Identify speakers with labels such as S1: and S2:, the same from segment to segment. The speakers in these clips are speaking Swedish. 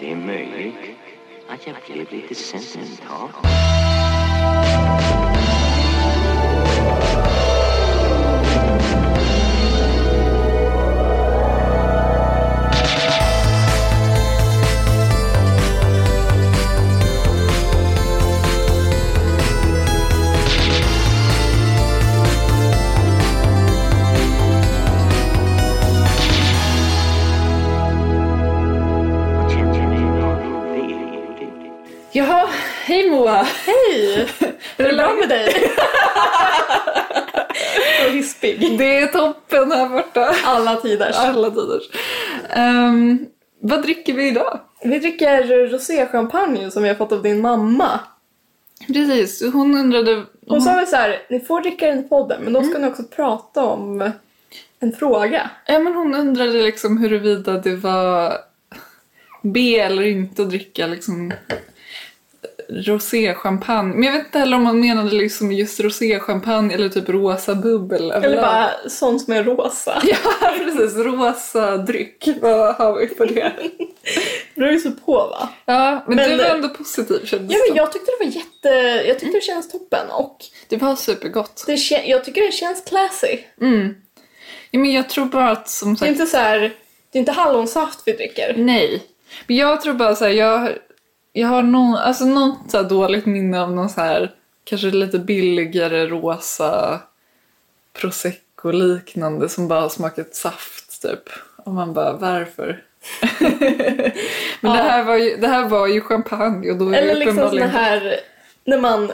S1: Det är möjligt att jag blev lite sentimental. Och känner mig väldigt
S2: Jaha, hej Moa!
S3: Hej!
S2: Är det bra
S3: med dig? Så hispig.
S2: Det är toppen här borta.
S3: Alla tiders.
S2: Alla tiders. Ehm, vad dricker vi idag?
S3: Vi dricker roséchampagne som vi har fått av din mamma.
S2: Precis, hon undrade... om
S3: Hon sa väl så här, ni får dricka den i podden men då ska ni också prata om en fråga.
S2: Ja, men hon undrade liksom huruvida det var B eller inte att dricka liksom roséchampagne. Men jag vet inte heller om hon menade liksom just roséchampagne eller typ rosa bubbel.
S3: Eller
S2: överlag.
S3: bara sånt som är rosa.
S2: Ja, precis. Rosa dryck. Vad har vi på det?
S3: Det beror ju så på va?
S2: Ja, men,
S3: Men-
S2: du var ändå positiv kändes
S3: Ja, men
S2: det
S3: jag tyckte det var jätte... Jag tyckte det känns toppen och
S2: Det var supergott.
S3: det kän... jag tycker det känns classy.
S2: Mm. Ja, men jag tror bara att som
S3: Det är
S2: sagt...
S3: inte så här... Det är inte hallonsaft vi dricker.
S2: Nej. Men jag tror bara så här, jag, jag har någon, alltså något så här dåligt minne av någon så här kanske lite billigare rosa prosecco-liknande som bara har smakat saft typ. Och man bara, varför? Men det,
S3: Ja.
S2: här var ju, det här var ju champagne och då är
S3: Eller
S2: det
S3: liksom såna
S2: uppenbarligen...
S3: här när man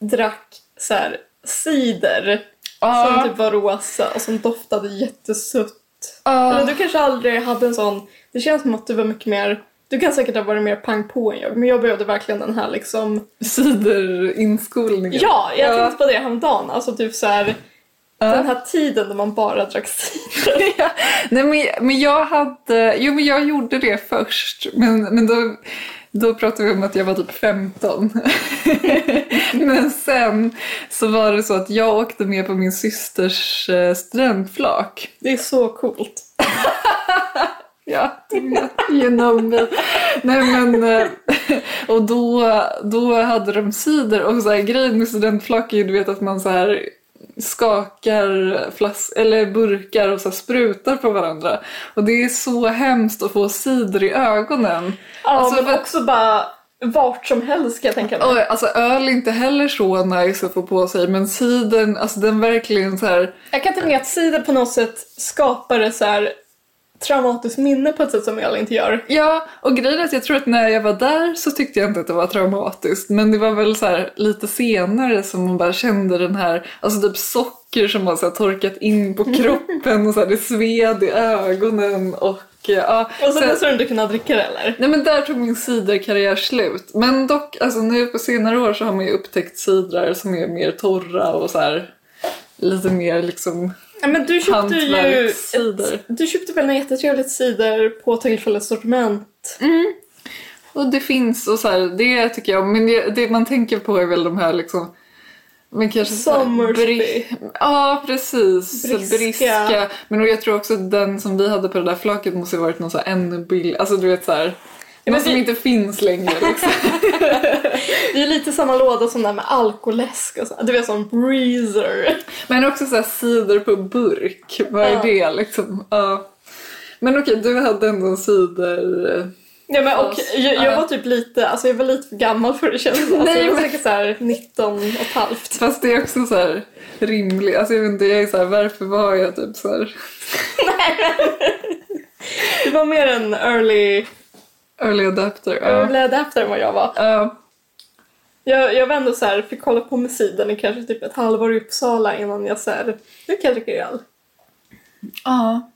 S3: drack så här cider
S2: Ja,
S3: som typ var rosa och som doftade jättesutt.
S2: ja.
S3: Eller du kanske aldrig hade en sån... Det känns som att du var mycket mer... Du kan säkert ha varit mer pang på än jag, men jag behövde verkligen den här liksom...
S2: Siderinskolningen.
S3: Ja, jag
S2: Ja.
S3: tänkte på det häromdagen. Alltså typ så här,
S2: Ja.
S3: den här tiden när man bara drack cider.
S2: Ja, nej men, men jag hade, jo men jag gjorde det först, men, men då, då pratade vi om att jag var typ 15. men sen så var det så att jag åkte med på min systers eh, studentflak.
S3: Det är så coolt.
S2: Ja, du vet, you know me. Nej men, eh, och då, då hade de cider och så här, grejen med studentflak är ju du vet att man så här skakar flas- eller burkar och så här sprutar på varandra. Och det är så hemskt att få cider i ögonen.
S3: Ja,
S2: Alltså,
S3: men
S2: för-
S3: också bara vart som helst kan jag tänka mig.
S2: Oj, alltså öl är inte heller så nice att få på sig men cidern, alltså den verkligen så här
S3: Jag kan tänka mig att cider på något sätt skapar ett så här traumatiskt minne på ett sätt som öl inte gör.
S2: Ja, och grejen är att jag tror att när jag var där så tyckte jag inte att det var traumatiskt. Men det var väl så här, lite senare som man bara kände den här, alltså typ socker som har så här, torkat in på kroppen och så här, det sved i ögonen och eh, ja.
S3: Och sen
S2: så-
S3: dess har du inte kunnat dricka det eller?
S2: Nej men där tog min ciderkarriär slut. Men dock, alltså nu på senare år så har man ju upptäckt sidrar som är mer torra och så här lite mer liksom
S3: Ja, men du köpte ju...
S2: hantverkscider.
S3: Du köpte väl en jättetrevligt cider på tillfällets sortiment?
S2: Och det finns och så här, det tycker jag. Men det, det man tänker på är väl de här liksom... Men kanske så här
S3: Sommersby.
S2: bri- Ja, precis. Briska.
S3: Briska.
S2: briska. Men och jag tror också att den som vi hade på det där flaket måste ju varit någon så här ännu billig. Alltså du vet så här.
S3: men
S2: någon som
S3: vi-
S2: inte finns längre liksom.
S3: Det är lite samma låda som där med alkoläsk och så. Du vet som breezer.
S2: Men också så här cider på burk. Vad är
S3: Ja.
S2: det liksom? Ja. Men okej, du hade ändå eh, en cider...
S3: Ja, men, och,
S2: Fast,
S3: jag, jag
S2: ja.
S3: var typ lite, alltså jag var lite för gammal för det kändes alltså,
S2: Nej,
S3: Jag var
S2: men-
S3: säkert såhär 19 och ett halvt.
S2: Fast det är också så här rimligt. Alltså jag vet inte, jag är så här, varför var jag typ så här
S3: Det var mer en early,
S2: early adapter? Ja.
S3: early adapter än vad jag var.
S2: Ja,
S3: Jag, jag var ändå så här, fick kolla på med sidan i kanske typ ett halvår i Uppsala innan jag så här, nu kan jag dricka öl.
S2: ja.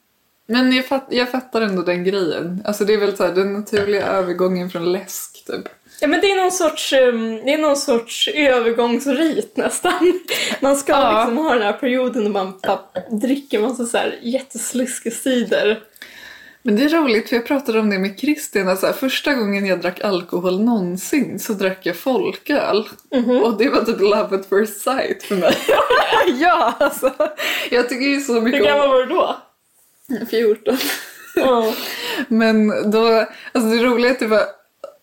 S2: Men jag, fatt, jag fattar ändå den grejen. Alltså det är väl så här, den naturliga övergången från läsk typ.
S3: Ja men det är någon sorts, ehm, det är någon sorts övergångsrit nästan. Man ska
S2: Ja.
S3: liksom ha den här perioden när man bara dricker massa så här jättesliskig cider.
S2: Men det är roligt för jag pratade om det med Christian. Alltså, här, första gången jag drack alkohol någonsin så drack jag folköl. Och det var typ love at first sight för mig. ja, alltså. Jag tycker ju så
S3: Hur
S2: mycket om...
S3: gammal var du då?
S2: 14.
S3: Ja.
S2: Men då, alltså det roliga är att det var,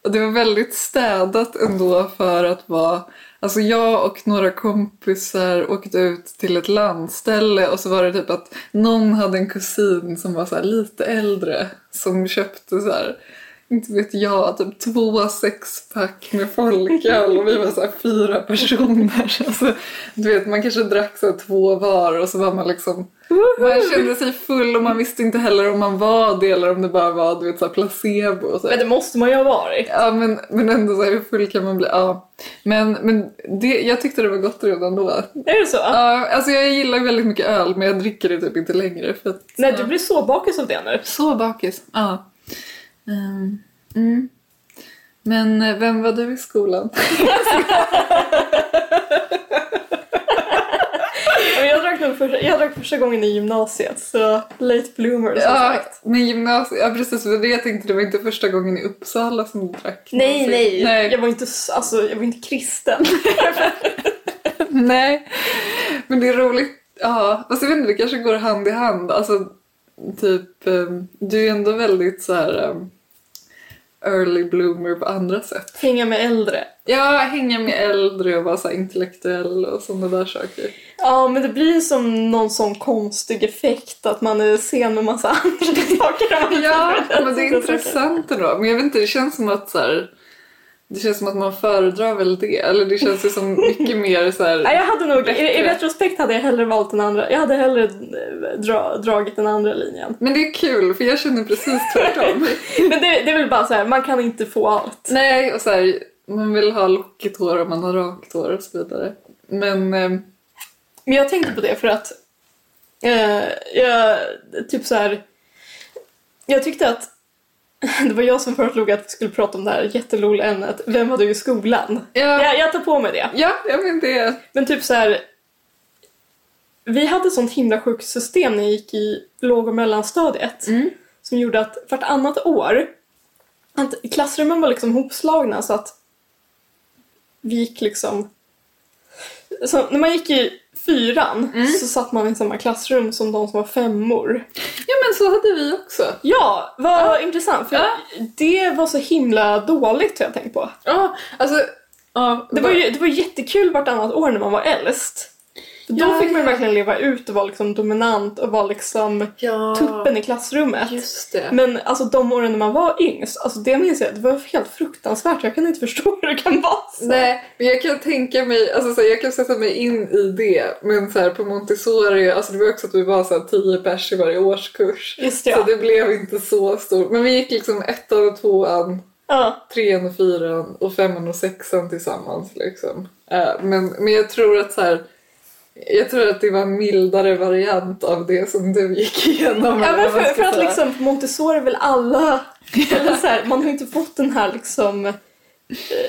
S2: det var väldigt städat ändå för att vara... Alltså jag och några kompisar åkte ut till ett landställe och så var det typ att någon hade en kusin som var så här lite äldre som köpte så här, inte vet jag, typ två sexpack med folköl och vi var så här fyra personer. Alltså, du vet, man kanske drack så här två var och så var man liksom man kände sig full och man visste inte heller om man var det eller om det bara var du vet, så här placebo. Och så.
S3: Men det måste man ju ha varit.
S2: Ja, men, men ändå så här, hur full kan man bli? Ja. Men, men det, jag tyckte det var gott redan då.
S3: Är det så?
S2: Ja, alltså jag gillar väldigt mycket öl men jag dricker det typ inte längre. För att,
S3: Nej, du blir så bakis av det nu.
S2: Så bakis. Ja. Ehm, mm. Men eh, vem var du i skolan?
S3: Men jag drack, nog första, jag drack första gången i gymnasiet, så late bloomer som
S2: Ja,
S3: sagt.
S2: men gymnasiet. Ja, precis. för Det jag tänkte det var inte första gången i Uppsala som du drack.
S3: Nej, Alltså, nej,
S2: nej.
S3: Jag var inte, s- alltså, jag var inte kristen.
S2: Nej, men det är roligt. Ja, fast jag vet inte, det kanske går hand i hand. Alltså, typ, eh, du är ändå väldigt så här eh, early bloomer på andra sätt.
S3: Hänga med äldre.
S2: Ja, hänga med äldre och vara så här intellektuell och sådana där saker.
S3: Ja, men det blir som någon sån konstig effekt att man är sen med massa andra saker. än man
S2: Ja,
S3: är
S2: men det är intressant ändå. Men jag vet inte, det känns som att så här, det känns som att man föredrar väl det. Eller det känns ju som mycket mer så här...
S3: Nej, jag hade nog, i, I
S2: Bättre.
S3: retrospekt hade jag hellre valt den andra. Jag hade hellre eh, dra, dragit den andra linjen.
S2: Men det är kul, för jag känner precis tvärtom.
S3: Men det, det är väl bara så här, man kan inte få allt.
S2: Nej, och så här, man vill ha lockigt hår och man har rakt hår och så vidare. Men eh,
S3: Men jag tänkte på det för att eh, jag typ så här. Jag tyckte att det var jag som föreslog att vi skulle prata om det här jätteroliga ämnet. Vem var du i skolan?
S2: Ja.
S3: Jag, jag tar på mig det.
S2: ja, ja, men det...
S3: Men typ så här. Vi hade sånt himla sjukt system när jag gick i låg och mellanstadiet
S2: Mm.
S3: som gjorde att vartannat år att klassrummen var liksom hopslagna så att vi gick liksom... Så när man gick i fyran så satt man i samma klassrum som de som var femmor.
S2: Ja, men så hade vi också.
S3: Ja, vad intressant för det var så himla dåligt har jag tänkt på.
S2: Ja, alltså... Ja,
S3: Det var ju det var jättekul vartannat år när man var äldst. För Då
S2: Ja,
S3: fick man
S2: ja.
S3: ju verkligen leva ut och vara liksom dominant och vara liksom
S2: ja,
S3: tuppen i klassrummet.
S2: Just det.
S3: Men alltså de åren när man var yngst, alltså det minns jag, det var helt fruktansvärt. Jag kan inte förstå hur det kan vara så.
S2: Nej, men jag kan tänka mig, alltså så här, jag kan sätta mig in i det. Men så här, på Montessori, alltså det var också att vi var så här, tio pers i varje årskurs.
S3: Just det, ja.
S2: Så det blev inte så stort. Men vi gick liksom ettan och tvåan,
S3: Ja,
S2: trean och fyran och femman och sexan tillsammans liksom. Eh, men, men jag tror att så här, jag tror att det var en mildare variant av det som du gick igenom.
S3: ja
S2: eller
S3: men
S2: vad man
S3: för,
S2: ska
S3: för att
S2: säga.
S3: liksom på Montessori är väl alla... Eller så här, man har inte fått den här liksom eh,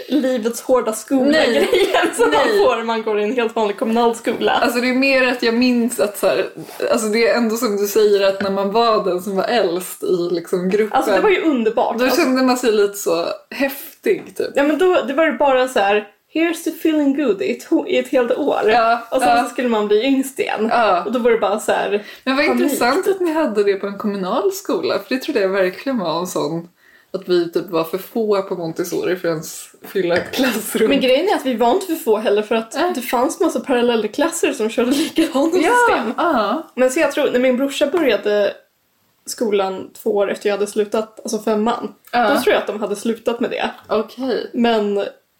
S3: livets hårda skola-grejen som man
S2: Nej.
S3: får när man går i en helt vanlig kommunal skola.
S2: Alltså det är mer att jag minns att så här, alltså det är ändå som du säger att när man var den som var äldst i liksom gruppen
S3: Alltså det var ju underbart.
S2: då
S3: Alltså,
S2: kände man sig lite så häftig typ.
S3: Ja men då det var det bara så här Here's the feeling good i ett, ho- i ett helt år.
S2: Ja,
S3: och sen
S2: ja.
S3: så skulle man bli yngst igen.
S2: Ja.
S3: Och då var det bara så här.
S2: Men vad
S3: Panik,
S2: intressant att ni hade det på en kommunal skola för det trodde jag verkligen var en sån att vi typ var för få på Montessori för att ens fylla ett klassrum.
S3: Men grejen är att vi var inte för få heller för att
S2: Nej.
S3: det fanns massa parallellklasser som körde likadana system.
S2: ja, ja.
S3: Men så jag tror, när min brorsa började skolan två år efter jag hade slutat, alltså femman,
S2: Ja.
S3: då tror jag att de hade slutat med det.
S2: Okej.
S3: Men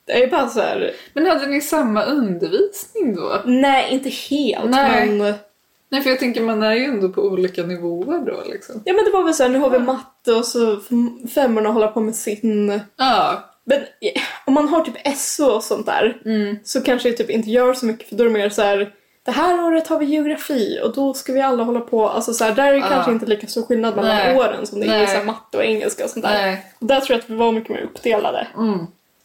S3: det är bara så här.
S2: Men hade ni samma undervisning då?
S3: nej inte helt
S2: Nej.
S3: men
S2: Nej, för jag tänker man är ju ändå på olika nivåer då liksom.
S3: Ja men det var väl såhär, nu har vi matte och så får femmorna hålla på med sin
S2: Ja.
S3: Men eh, om man har typ SO och sånt där
S2: Mm.
S3: så kanske det typ inte gör så mycket för då är det mer så här det här året har vi geografi och då ska vi alla hålla på. Alltså så här, där är det
S2: Ah.
S3: kanske inte lika stor skillnad mellan
S2: Nej.
S3: åren som det är i
S2: Nej.
S3: så här, matte och engelska och sånt där.
S2: Nej.
S3: Och där tror jag att vi var mycket mer uppdelade.
S2: Mm.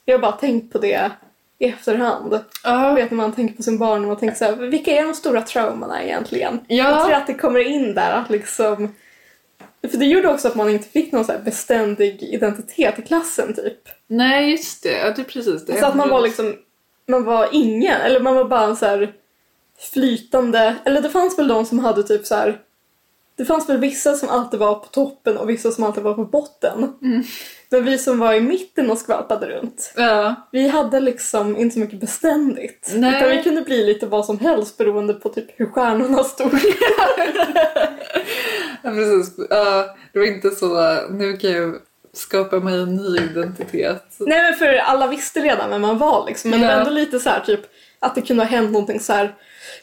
S3: Jag har bara tänkt på det i efterhand. Jag vet när man tänker på sin barn och man tänker så här, vilka är de stora traumorna egentligen?
S2: Ja.
S3: Jag tror att det kommer in där att liksom... För det gjorde också att man inte fick någon så här beständig identitet i klassen typ.
S2: Nej, just det. Ja, det är precis det.
S3: Så att man var liksom, man var ingen, eller man var bara en så här flytande, eller det fanns väl de som hade typ så här Det fanns väl vissa som alltid var på toppen och vissa som alltid var på botten. Men vi som var i mitten och skvalpade runt,
S2: Ja.
S3: vi hade liksom inte så mycket beständigt.
S2: Nej.
S3: Utan vi kunde bli lite vad som helst beroende på typ hur stjärnorna stod.
S2: Ja, precis. Ja, det var inte så, eh, nu kan jag skapa mig en ny identitet.
S3: Nej men för alla visste redan vem man var liksom. Men det var
S2: Ja.
S3: ändå lite så här typ att det kunde ha hänt någonting så här.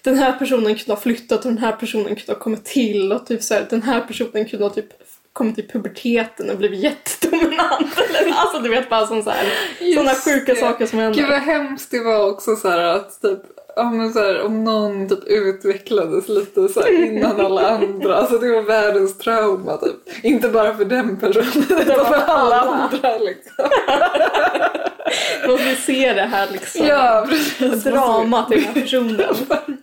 S3: Den här personen kunde ha flyttat och den här personen kunde ha kommit till och typ så här, den här personen kunde ha typ kommit till puberteten och blivit jättedominant. Eller, alltså du vet bara sån så här,
S2: Just
S3: såna sjuka
S2: det.
S3: saker som händer.
S2: Gud vad hemskt det var också så här att typ Ja, men så här, om någon typ utvecklades lite så här innan alla andra. Alltså det var världens trauma typ. Inte bara för den personen utan för alla andra liksom.
S3: Och vi ser det här liksom
S2: Ja precis.
S3: dramat i den här personen.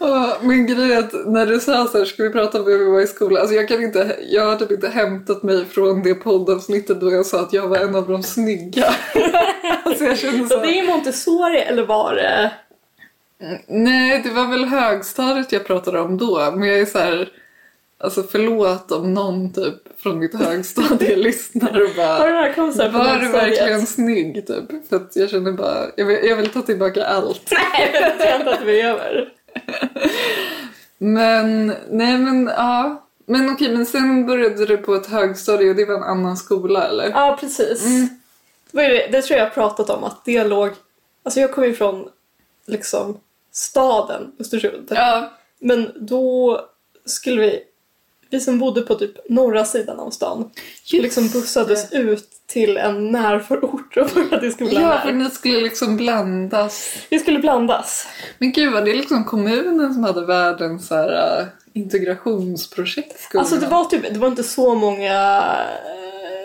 S2: Ja, Men grejen är att när du sa så här, ska vi prata om hur vi var i skolan? Alltså jag, kan inte, jag har typ inte hämtat mig från det poddavsnittet då jag sa att jag var en av de snygga. alltså jag känner så
S3: Så
S2: här,
S3: det är Montessori eller var det?
S2: Nej, det var väl högstadiet jag pratade om då. Men jag är så här, alltså förlåt om någon typ från mitt högstadie lyssnar och
S3: Har
S2: bara
S3: du den här konserten?
S2: var du verkligen snygg? Typ. För att jag känner bara, jag vill, jag vill ta tillbaka allt.
S3: Nej, det tror jag inte att vi behöver.
S2: Men, nej men ja. Men okej, men sen började du på ett högstadie och det var en annan skola eller?
S3: Ja, precis.
S2: Mm.
S3: Det, var ju det, det tror jag jag har pratat om att det låg... Alltså jag kom ju från liksom staden Östersund.
S2: Ja.
S3: Men då skulle vi, vi som bodde på typ norra sidan av stan, liksom bussades ut till en närförort och började i skolan
S2: Ja, för
S3: där.
S2: ni skulle liksom blandas.
S3: Vi skulle blandas.
S2: Men gud, var det liksom kommunen som hade världens så här, äh, integrationsprojekt? i skolan?
S3: Alltså det var typ, det var inte så många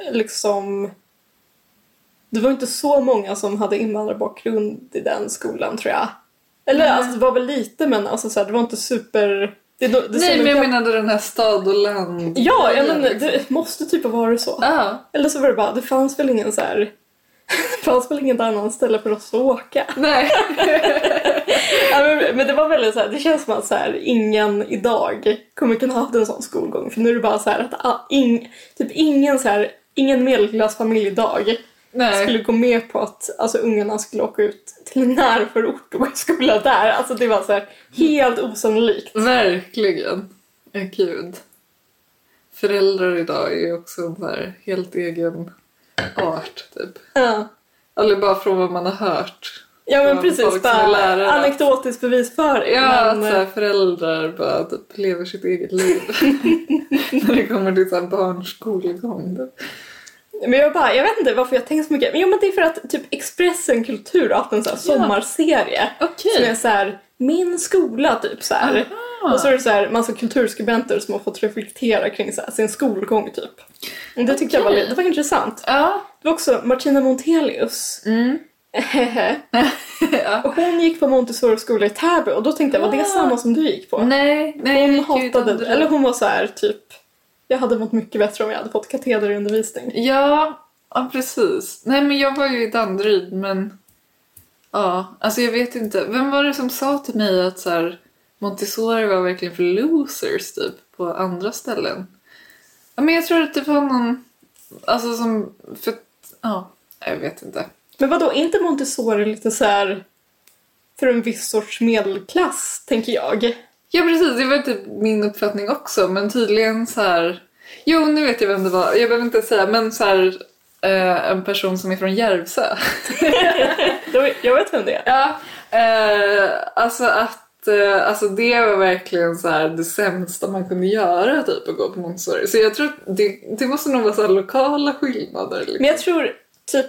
S3: eh, liksom det var inte så många som hade invandrarbakgrund i den skolan tror jag. Eller
S2: Mm.
S3: alltså det var väl lite men alltså så här, det var inte super det, det, det
S2: Nej, men jag menade den här stad och land.
S3: Ja, ja men
S2: liksom.
S3: det måste typ ha varit så.
S2: Ja.
S3: Eller så var det bara det fanns väl ingen så här det fanns väl inget annat ställe för oss att åka.
S2: Nej.
S3: Ja, men, men det var väldigt så här, det känns som att så här, ingen idag kommer kunna ha haft en sån skolgång. För nu är det bara så här att ah, ing, typ ingen, så här, ingen medelklassfamilj idag
S2: Nej.
S3: skulle gå med på att alltså, ungarna skulle åka ut till en närförort och gå i skola där. Alltså det var så här, helt osannolikt.
S2: Mm. Verkligen. Ja, gud. Föräldrar idag är ju också en så här helt egen art, typ.
S3: Ja,
S2: Eller bara från vad man har hört.
S3: ja men
S2: Ja,
S3: precis,
S2: folk som är lärare.
S3: bara anekdotisk bevisföring.
S2: Ja, alltså. att
S3: men, eh,
S2: så här, föräldrar bara typ lever sitt eget liv. När det kommer till så här barnskolgång. typ.
S3: Men jag bara, jag vet inte varför jag tänker så mycket. Men jo men det är för att typ Expressen Kultur har haft en sån här sommarserie.
S2: Okej.
S3: Som är så här, min skola typ så här. Och så är det så här massa kulturskribenter som har fått reflektera kring så här, sin skolgång typ. Men Det tyckte jag var
S2: Okej.
S3: lite, det var intressant.
S2: Ja.
S3: Det var också Martina Montelius.
S2: Mm. ja.
S3: Och Hon gick på Montessori skola i Täby och då tänkte jag, var det
S2: Ah.
S3: samma som du gick på?
S2: Nej, nej.
S3: Hon
S2: jag gick ju ett
S3: hatade,
S2: andra-
S3: eller hon var så här typ, jag hade mått mycket bättre om jag hade fått katederundervisning.
S2: Ja, ja precis. Nej men jag var ju i Danderyd men ja, alltså jag vet inte. Vem var det som sa till mig att så här, Montessori var verkligen för losers typ på andra ställen? Ja men jag tror att det var någon, alltså som, för, ja, jag vet inte.
S3: Men vadå, är inte Montessori lite så här för en viss sorts medelklass, tänker jag?
S2: Ja precis, det var typ min uppfattning också men tydligen så här. Jo nu vet jag vem det var, jag behöver inte säga men så här eh, en person som är från Järvsö.
S3: Då- Jag vet vem det är.
S2: Ja, eh, alltså att eh, alltså det var verkligen så här det sämsta man kunde göra typ att gå på Montessori. Så jag tror att det, det måste nog vara så här lokala skillnader. Liksom.
S3: Men jag tror typ,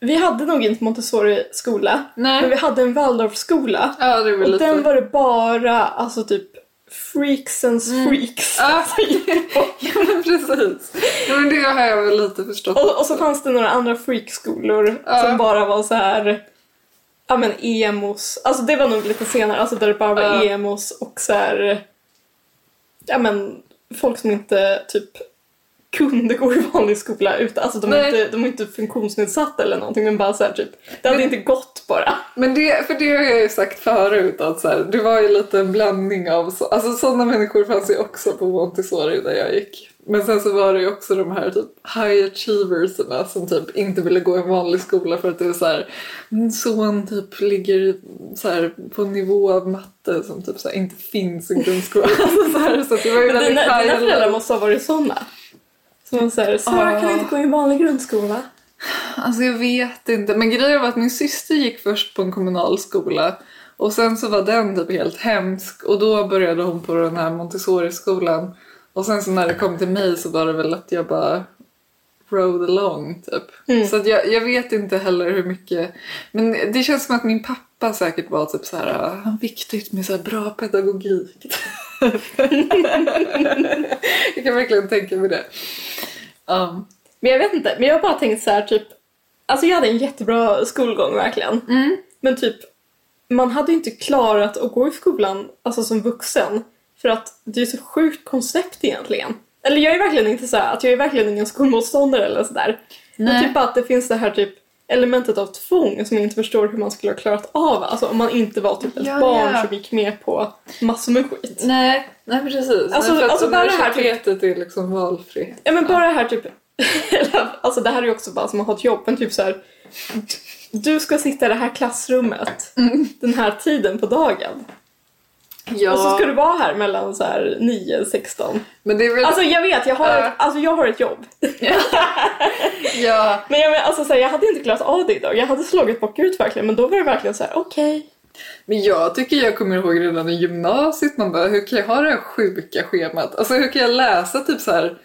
S3: vi hade nog inte Montessori-skola,
S2: Nej.
S3: men vi hade en Waldorf-skola.
S2: Ja, det är väl
S3: Och
S2: lite...
S3: den var det bara, alltså typ, freaksens freaks.
S2: Mm. Ja, ja, men precis. Ja, men det har jag väl lite förstått.
S3: Och, och så fanns det några andra freakskolor
S2: Ja.
S3: som bara var så här... Ja men emos, alltså det var nog lite senare, alltså där det bara var
S2: Ja.
S3: emos och så här... Ja men folk som inte typ kunde gå i vanlig skola utan, alltså de är,
S2: Nej.
S3: inte, de är inte funktionsnedsatta eller någonting men bara så här typ, det hade inte gått bara.
S2: Men det, för det har jag ju sagt förut att så här, det var ju lite en blandning av så, alltså sådana människor fanns ju också på Montessori där jag gick. Men sen så var det ju också de här typ high achieverserna som typ inte ville gå i en vanlig skola för att det är så här, min son typ ligger så här på en nivå av matte som typ så här, inte finns i grundskolan. Alltså så, här, så att det var ju
S3: Men
S2: väldigt
S3: dina, dina
S2: high
S3: föräldrar måste ha varit sådana. Som så här, Sara kan
S2: Ah.
S3: inte gå i en vanlig grundskola.
S2: Alltså jag vet inte. Men grejen var att min syster gick först på en kommunal skola och sen så var den typ helt hemsk och då började hon på den här Montessori-skolan. Och sen så när det kom till mig så var det väl att jag bara rode along typ.
S3: Mm.
S2: Så att jag, jag vet inte heller hur mycket. Men det känns som att min pappa säkert var typ så här "Ah, viktigt med så här bra pedagogik. jag kan verkligen tänka mig det. Ja.
S3: Men jag vet inte, men jag har bara tänkt så här typ, alltså jag hade en jättebra skolgång verkligen.
S2: Mm.
S3: Men typ, man hade ju inte klarat att gå i skolan, alltså som vuxen. För att det är ju så sjukt koncept egentligen. Eller jag är verkligen inte så här, att jag är verkligen ingen skolmotståndare eller sådär. Men
S2: Nej.
S3: typ bara att det finns det här typ elementet av tvång som jag inte förstår hur man skulle ha klarat av. Alltså om man inte var typ ett
S2: Ja,
S3: barn
S2: ja.
S3: som gick med på massor med skit.
S2: Nej, nej precis.
S3: Alltså-
S2: nej, för att
S3: alltså bara det här typ-
S2: universitetet är liksom valfritt.
S3: Ja men bara det här typ, alltså det här är ju också bara som att ha ett jobb, men typ så här. Du ska sitta i det här klassrummet den här tiden på dagen.
S2: Mm. Ja,
S3: Och så ska du vara här mellan så här 9 och 16.
S2: men det är väl...
S3: Alltså jag vet, jag har,
S2: Ja.
S3: ett, alltså, jag har ett jobb.
S2: ja.
S3: Men jag, men, alltså, så här, jag hade inte klarat av det idag. Jag hade slagit bakut verkligen, men då var det verkligen så här: okej.
S2: Men jag tycker jag kommer ihåg redan i gymnasiet, man bara hur kan jag ha det här sjuka schemat? Alltså hur kan jag läsa typ så här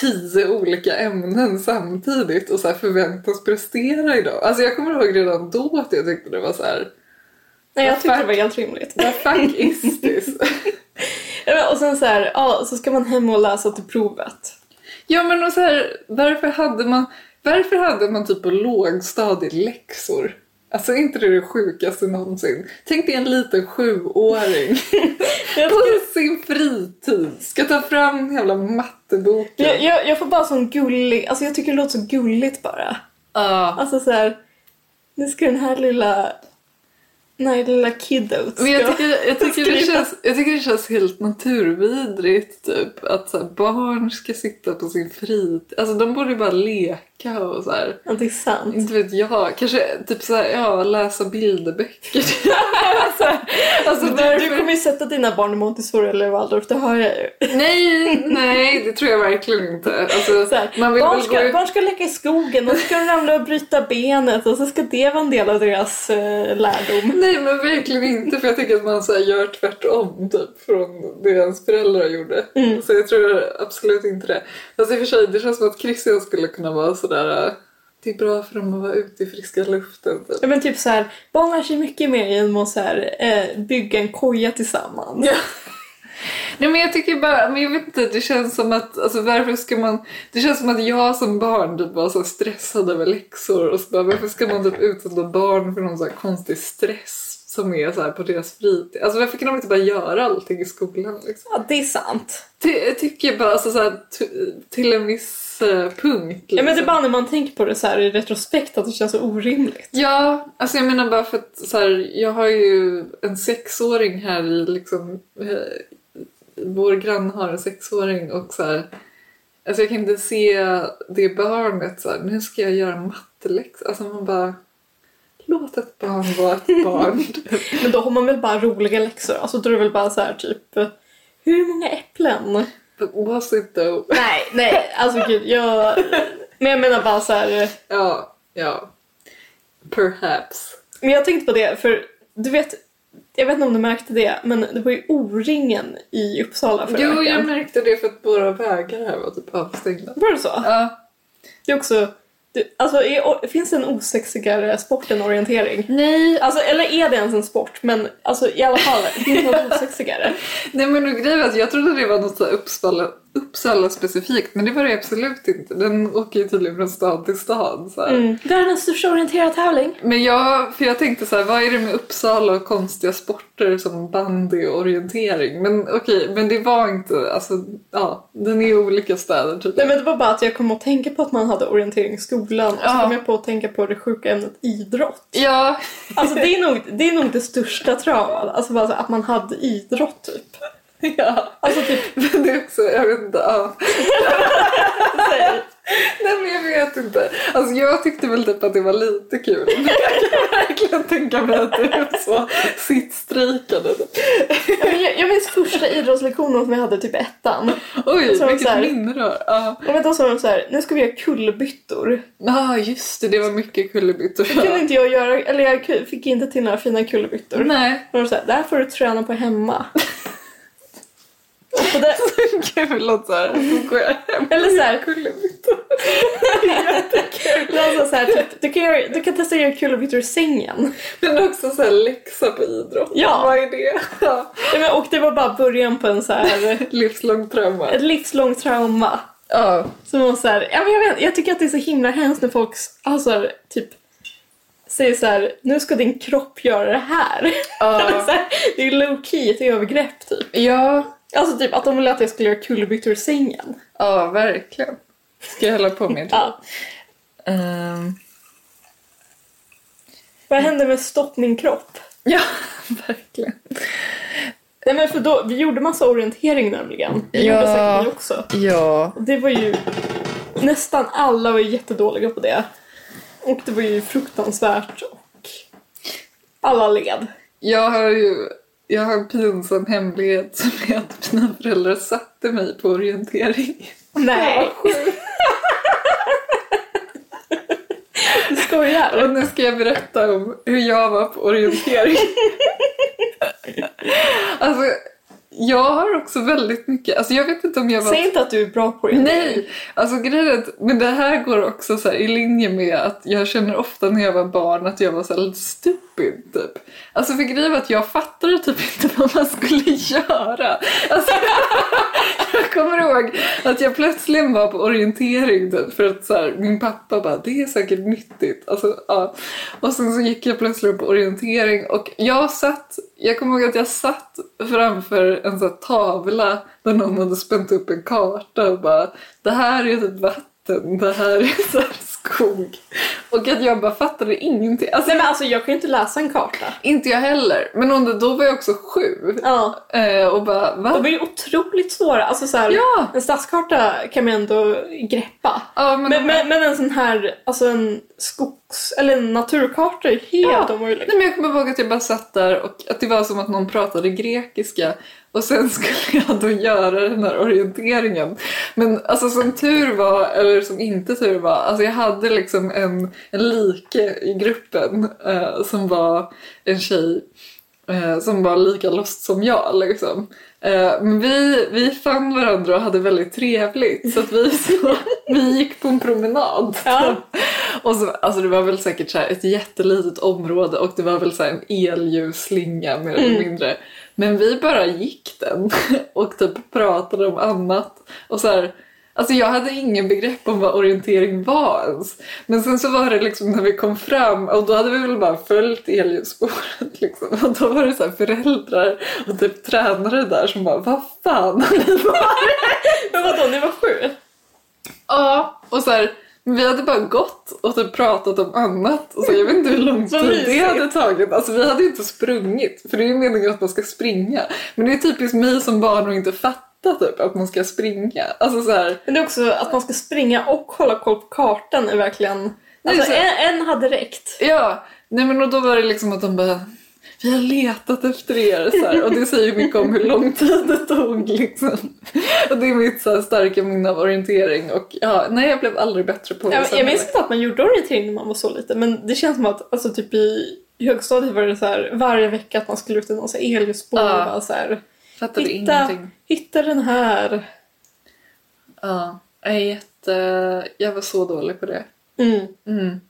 S2: tio olika ämnen samtidigt och så här förväntas prestera idag? Alltså jag kommer ihåg redan då att jag tyckte det var så här,
S3: Nej, jag tyckte det
S2: fuck.
S3: var helt rimligt.
S2: what fuck is this?
S3: Ja, men, och sen så här, ja, så ska man hem och läsa till provet.
S2: ja men och så här, varför hade man, varför hade man typ på lågstadiet läxor? Alltså är inte det det sjukaste någonsin? Tänk dig en liten sjuåring
S3: Jag
S2: på
S3: tycker-
S2: sin fritid ska ta fram den jävla matteboken.
S3: Jag, jag, jag får bara sån gullig, alltså jag tycker det låter så gulligt bara.
S2: Ja.
S3: Alltså så här, nu ska den här lilla, nej lilla kiddo ska...
S2: Men jag tycker, jag, tycker det
S3: skriva.
S2: känns, jag tycker det känns helt naturvidrigt typ att så här, barn ska sitta på sin fritid. Alltså de borde ju bara leka och så här.
S3: Ja, det är sant.
S2: Inte vet jag. Kanske typ så här, ja, läsa bilderböcker. alltså, alltså,
S3: Du, du, du kommer ju sätta dina barn i Montessori eller Waldorf, det hör jag ju.
S2: Nej, nej, det tror jag verkligen inte. Alltså,
S3: Så här,
S2: man vill
S3: barn,
S2: väl gå
S3: ska,
S2: ut...
S3: barn ska leka i skogen och så ska de ramla och bryta benet och så ska det vara en del av deras eh, lärdom.
S2: Nej, men verkligen inte. För jag tycker att man så här gör tvärtom typ, från det ens föräldrar gjorde.
S3: Mm.
S2: Så jag tror absolut inte det. Alltså, i och för sig, det känns som att Christian skulle kunna vara sådär... äh, Det är bra för dem att vara ute i friska luften. Typ.
S3: Ja, men typ så här, barn lär sig mycket mer genom att så här, eh, bygga en koja tillsammans.
S2: Nej men jag tycker bara, men jag vet inte, det känns som att, alltså varför ska man, det känns som att jag som barn typ var så stressad över läxor och så bara varför ska man typ utsätta barn för någon så här konstig stress som är så här på deras fritid? Alltså varför kan de inte bara göra allting i skolan liksom?
S3: Ja, det är sant.
S2: Ty, jag tycker bara alltså så här, t- till en viss eh,
S3: Ja,
S2: punkt liksom.
S3: men det är bara när man tänker på det så här i retrospekt att det känns så orimligt.
S2: Ja, alltså jag menar bara för att så här, jag har ju en sexåring här i liksom... Eh, vår granne har en sexåring och så här... Alltså jag kan inte se det barnet så här, nu ska jag göra matteläxa. Alltså man bara... Låt ett barn vara ett barn.
S3: Men då har man väl bara roliga läxor? Alltså då är det väl bara så här typ hur många äpplen?
S2: But was it though?
S3: Nej, nej, alltså gud, jag... Men jag menar bara så här...
S2: Ja, ja. Perhaps.
S3: Men jag tänkte på det, för du vet, jag vet inte om du märkte det, men det var ju O-ringen i Uppsala förra
S2: Jo, jag
S3: veckan.
S2: märkte det för att våra vägar här var typ avstängda.
S3: Var det så?
S2: Ja.
S3: Det är också... Det, alltså, är, o- finns det en osexigare sport än orientering?
S2: Nej,
S3: Alltså, eller är det ens en sport? Men alltså, i alla fall, finns det något osexigare?
S2: Nej men grejen var att jag trodde det var något så här Uppsala, Uppsala specifikt, men det var det absolut inte. Den åker ju tydligen från stad till stad. Så här.
S3: Mm. Världens största orienterartävling.
S2: Men jag, för jag tänkte så här, vad är det med Uppsala och konstiga sporter som bandy och orientering? Men okej, men det var inte, alltså ja, den är i olika städer typ.
S3: Nej
S2: tydligen.
S3: men det var bara att jag kom att tänka på att man hade orientering i skolan och så
S2: Ja.
S3: kom jag på att tänka på det sjuka ämnet idrott.
S2: Ja,
S3: Alltså det är nog det, är nog det största traumat, alltså bara så att man hade idrott typ.
S2: ja.
S3: Alltså typ
S2: Men det är också, jag vet inte, ja.
S3: säger
S2: Nej men jag vet inte. Alltså jag tyckte väl typ att det var lite kul. Men jag kan verkligen tänka mig att du så sittstrejkade.
S3: Ja, men jag, jag minns första idrottslektionen som jag hade typ i ettan.
S2: Oj,
S3: Så så
S2: vilket
S3: här-
S2: minne du har. Ja,
S3: Jag vet, då sa de så här, nu ska vi göra kullerbyttor.
S2: ah, just det, det var mycket kullerbyttor.
S3: Det kunde inte jag göra, eller jag ku- fick inte till några fina kullerbyttor.
S2: Nej,
S3: Och de sa där får du träna på hemma. Och det,
S2: kul att såhär, går jag hem
S3: eller så här,
S2: kullerbyttor.
S3: någon sa så här typ, du kan, göra, du kan testa att göra kullerbyttor i sängen.
S2: Men också såhär läxa på idrott.
S3: Ja.
S2: Vad är det? Ja.
S3: Ja, men, och det var bara början på en så här,
S2: Livslång trauma.
S3: ett livslångt trauma.
S2: Ja.
S3: Som var så här, ja, men jag, vet, jag tycker att det är så himla hemskt när folk alltså, typ säger så här, nu ska din kropp göra det här.
S2: Ja.
S3: så här det är low key ett övergrepp typ.
S2: ja.
S3: Alltså typ att de ville att jag skulle göra kullerbyttor i sängen.
S2: Ja, verkligen. Ska jag hålla på med det?
S3: Ja.
S2: Ehm,
S3: Vad hände med stopp min kropp?
S2: ja, verkligen.
S3: Nej men för då, vi gjorde massa orientering nämligen. Det gjorde
S2: Ja.
S3: säkert ni också.
S2: Ja.
S3: Och det var ju, nästan alla var ju jättedåliga på det. Och det var ju fruktansvärt och alla led.
S2: Jag har ju jag har en pinsam hemlighet som är att mina föräldrar satte mig på orientering.
S3: Nej. Du skojar?
S2: Och nu ska jag berätta om hur jag var på orientering. alltså, jag har också väldigt mycket... Alltså jag vet inte om jag var...
S3: Säg inte att du är bra på det.
S2: Nej! Alltså grejen är att, men det här går också så här i linje med att jag känner ofta när jag var barn att jag var så här lite stupid typ. Alltså för grejen var att jag fattade typ inte vad man skulle göra. Alltså, jag kommer ihåg att jag plötsligen var på orientering typ för att så här, min pappa bara det är säkert nyttigt. Alltså, ja. Och sen så gick jag plötsligen på orientering och jag satt, jag kommer ihåg att jag satt framför en så här tavla där någon hade spänt upp en karta och bara det här är typ vatten, det här är så här skog. Och att jag bara fattade ingenting. Alltså,
S3: Nej men alltså jag kan ju inte läsa en karta.
S2: inte jag heller. Men under, då var jag också sju.
S3: Ja.
S2: Eh, och bara va?
S3: De är ju otroligt svåra. Alltså så här,
S2: Ja!
S3: En stadskarta kan man ändå greppa.
S2: Ja, men,
S3: Men, men, men en sån här, alltså en skogs eller en naturkarta är helt
S2: Ja.
S3: omöjlig.
S2: Nej, men jag kommer ihåg att jag bara satt där och att det var som att någon pratade grekiska och sen skulle jag då göra den här orienteringen. Men alltså som tur var, eller som inte tur var, alltså jag hade liksom en, en like i gruppen eh, som var en tjej eh, som var lika lost som jag. Liksom. Eh, men vi, vi fann varandra och hade väldigt trevligt så att vi, så, vi gick på en promenad.
S3: Ja.
S2: Och så, alltså det var väl säkert så här ett jättelitet område och det var väl så här en elljuslinga mer eller mindre. Men vi bara gick den och typ pratade om annat. Och så här, alltså jag hade ingen begrepp om vad orientering var ens. Men sen så var det liksom när vi kom fram och då hade vi väl bara följt elljusspåret liksom. Och då var det så här föräldrar och typ tränare där som bara vad fan har ni
S3: Men vadå, ni var sju?
S2: Ja, och så här, vi hade bara gått och typ pratat om annat. Och så, jag vet inte hur lång
S3: Vad
S2: tid det
S3: mysigt.
S2: hade tagit. Alltså, vi hade ju inte sprungit, för det är ju meningen att man ska springa. Men det är typiskt mig som barn att inte fatta typ, att man ska springa. Alltså, så här,
S3: Men det är också att man ska springa och hålla koll på kartan är verkligen...
S2: Nej,
S3: alltså
S2: så-
S3: en, en hade räckt.
S2: ja, nej, men och då var det liksom att de bara vi har letat efter er så här, och det säger ju mycket om hur lång tid det tog. Liksom. Och det är mitt så här, starka minne av orientering. Och, ja, nej, jag blev aldrig bättre på det.
S3: Jag,
S2: sen
S3: jag minns
S2: heller.
S3: inte att man gjorde orientering när man var så liten men det känns som att alltså, typ i i högstadiet var det så här, varje vecka att man skulle ut i någon så här elljusspår och
S2: Ja.
S3: bara så här,
S2: Fattade
S3: hitta,
S2: ingenting.
S3: hitta den här.
S2: Ja, jag är jätte... Jag var så dålig på det.
S3: Mm.
S2: Mm.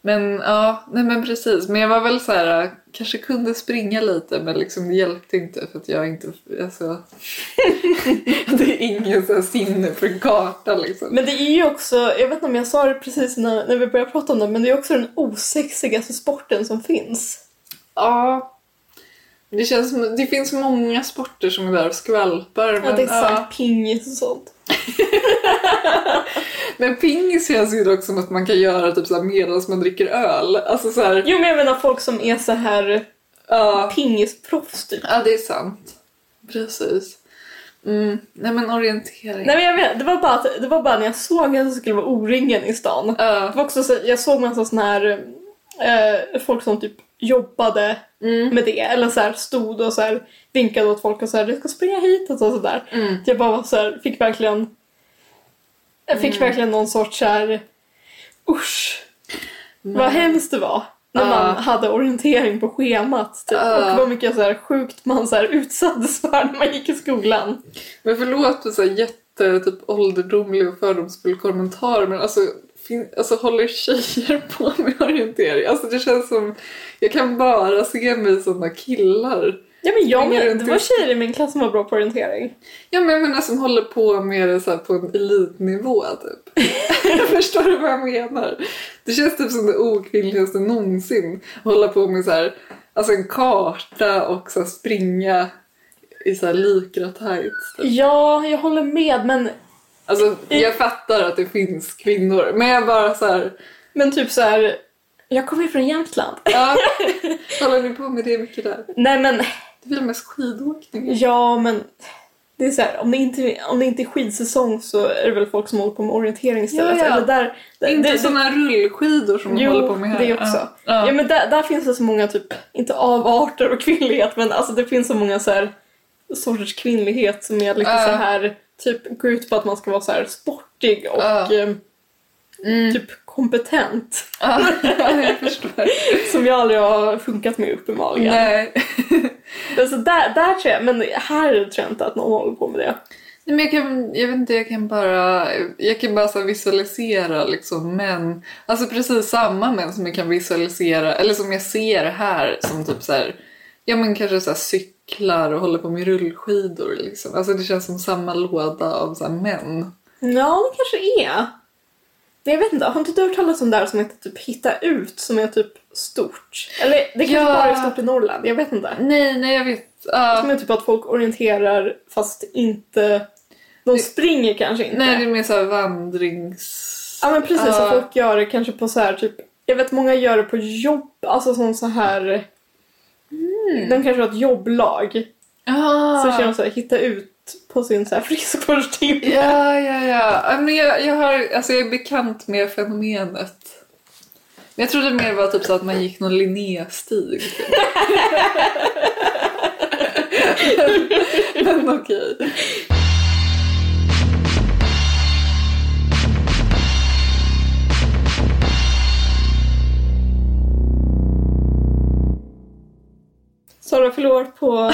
S2: Men ja, nej men precis. Men jag var väl så här, kanske kunde springa lite men liksom det hjälpte inte för att jag inte, alltså. det är ingen så här sinne för en karta liksom.
S3: Men det är ju också, jag vet inte om jag sa det precis när, när vi började prata om det, men det är också den osexigaste sporten som finns.
S2: Ja. Det känns som, det finns många sporter som är där och skvalpar.
S3: Ja,
S2: men,
S3: det är såhär pingis och sånt.
S2: men pingis känns ju dock som att man kan göra typ så här medan man dricker öl. Alltså så här,
S3: Jo men jag menar folk som är så här
S2: ja.
S3: pingisproffs typ.
S2: Ja, det är sant. Precis. Mm. Nej men orientering.
S3: Nej men jag vet, det var bara, att, det var bara när jag såg att det skulle vara O-ringen i stan.
S2: Ja.
S3: Det var också så, jag såg massa sån här eh, folk som typ jobbade
S2: Mm.
S3: med det eller så här stod och så här vinkade åt folk och så här du ska springa hit och sådär.
S2: Mm.
S3: Jag bara var så här, fick verkligen jag fick verkligen någon sorts så här usch vad hemskt det var när
S2: Ja.
S3: man hade orientering på schemat typ.
S2: Ja.
S3: och vad mycket så här sjukt man så här utsattes för när man gick i skolan.
S2: Men förlåt för så här jätte typ ålderdomlig och fördomsfull kommentar men alltså, fin- alltså håller tjejer på med orientering? Alltså det känns som, jag kan bara se mig som killar.
S3: Ja men jag
S2: Springer
S3: men,
S2: runt
S3: det
S2: i-
S3: var tjejer i min klass som var bra på orientering.
S2: Ja men jag menar som håller på med det så här på en elitnivå typ. Förstår du vad jag menar? Det känns typ som det okvinnligaste någonsin. Att hålla på med så här, alltså en karta och så här springa i så här likra tights. Typ.
S3: Ja, jag håller med men
S2: Alltså jag fattar att det finns kvinnor men jag bara så här,
S3: Men typ så här, jag kommer ju från Jämtland.
S2: ja. Håller ni på med det mycket där?
S3: Nej men,
S2: Det blir mest skidåkning.
S3: ja men. Det är så här, om, det inte, om det inte är skidsäsong så är det väl folk som håller på med orientering istället.
S2: Ja, ja.
S3: Eller där, där,
S2: Inte
S3: det,
S2: såna här rullskidor som de
S3: jo,
S2: håller på med här.
S3: det också.
S2: Ja. Ja.
S3: Ja men där, där finns det så många typ, inte avarter och kvinnlighet men alltså det finns så många så här sorters kvinnlighet som är lite
S2: Ja.
S3: så här typ går ut på att man ska vara så här sportig och
S2: Ja.
S3: eh,
S2: Mm.
S3: typ kompetent.
S2: Ja, jag förstår.
S3: Som jag aldrig har funkat med upp i magen.
S2: Nej.
S3: Men så där, där tror jag, men här tror jag inte att någon håller på med det.
S2: Nej, men jag, kan, jag vet inte, jag kan bara, jag kan bara så här visualisera liksom män. Alltså precis samma män som jag kan visualisera, eller som jag ser här som typ så här, ja men kanske så här cyklar och håller på med rullskidor liksom. Alltså det känns som samma låda av så här män.
S3: Ja, det kanske är. Men jag vet inte, har inte du hört talas om det här som heter typ hitta ut som är typ stort? Eller det kanske
S2: Ja.
S3: bara är stort i Norrland, jag vet inte.
S2: Nej, nej jag vet. ah, ja.
S3: Som är typ att folk orienterar fast inte... De springer kanske inte.
S2: nej det är mer så här vandrings... ah.
S3: Ja men precis,
S2: Ja.
S3: som folk gör det kanske på så här typ... Jag vet många gör det på jobb, alltså som så här...
S2: Mm.
S3: De kanske har ett jobblag.
S2: Ah.
S3: Så kör de så här, hitta ut på sin så här friskvårdstimme.
S2: Ja, ja, ja. Ja, Men jag, jag, har, alltså jag är bekant med fenomenet. Men jag trodde mer var typ så att man gick någon Linnéstig. men men okej.
S3: Sara förlorar på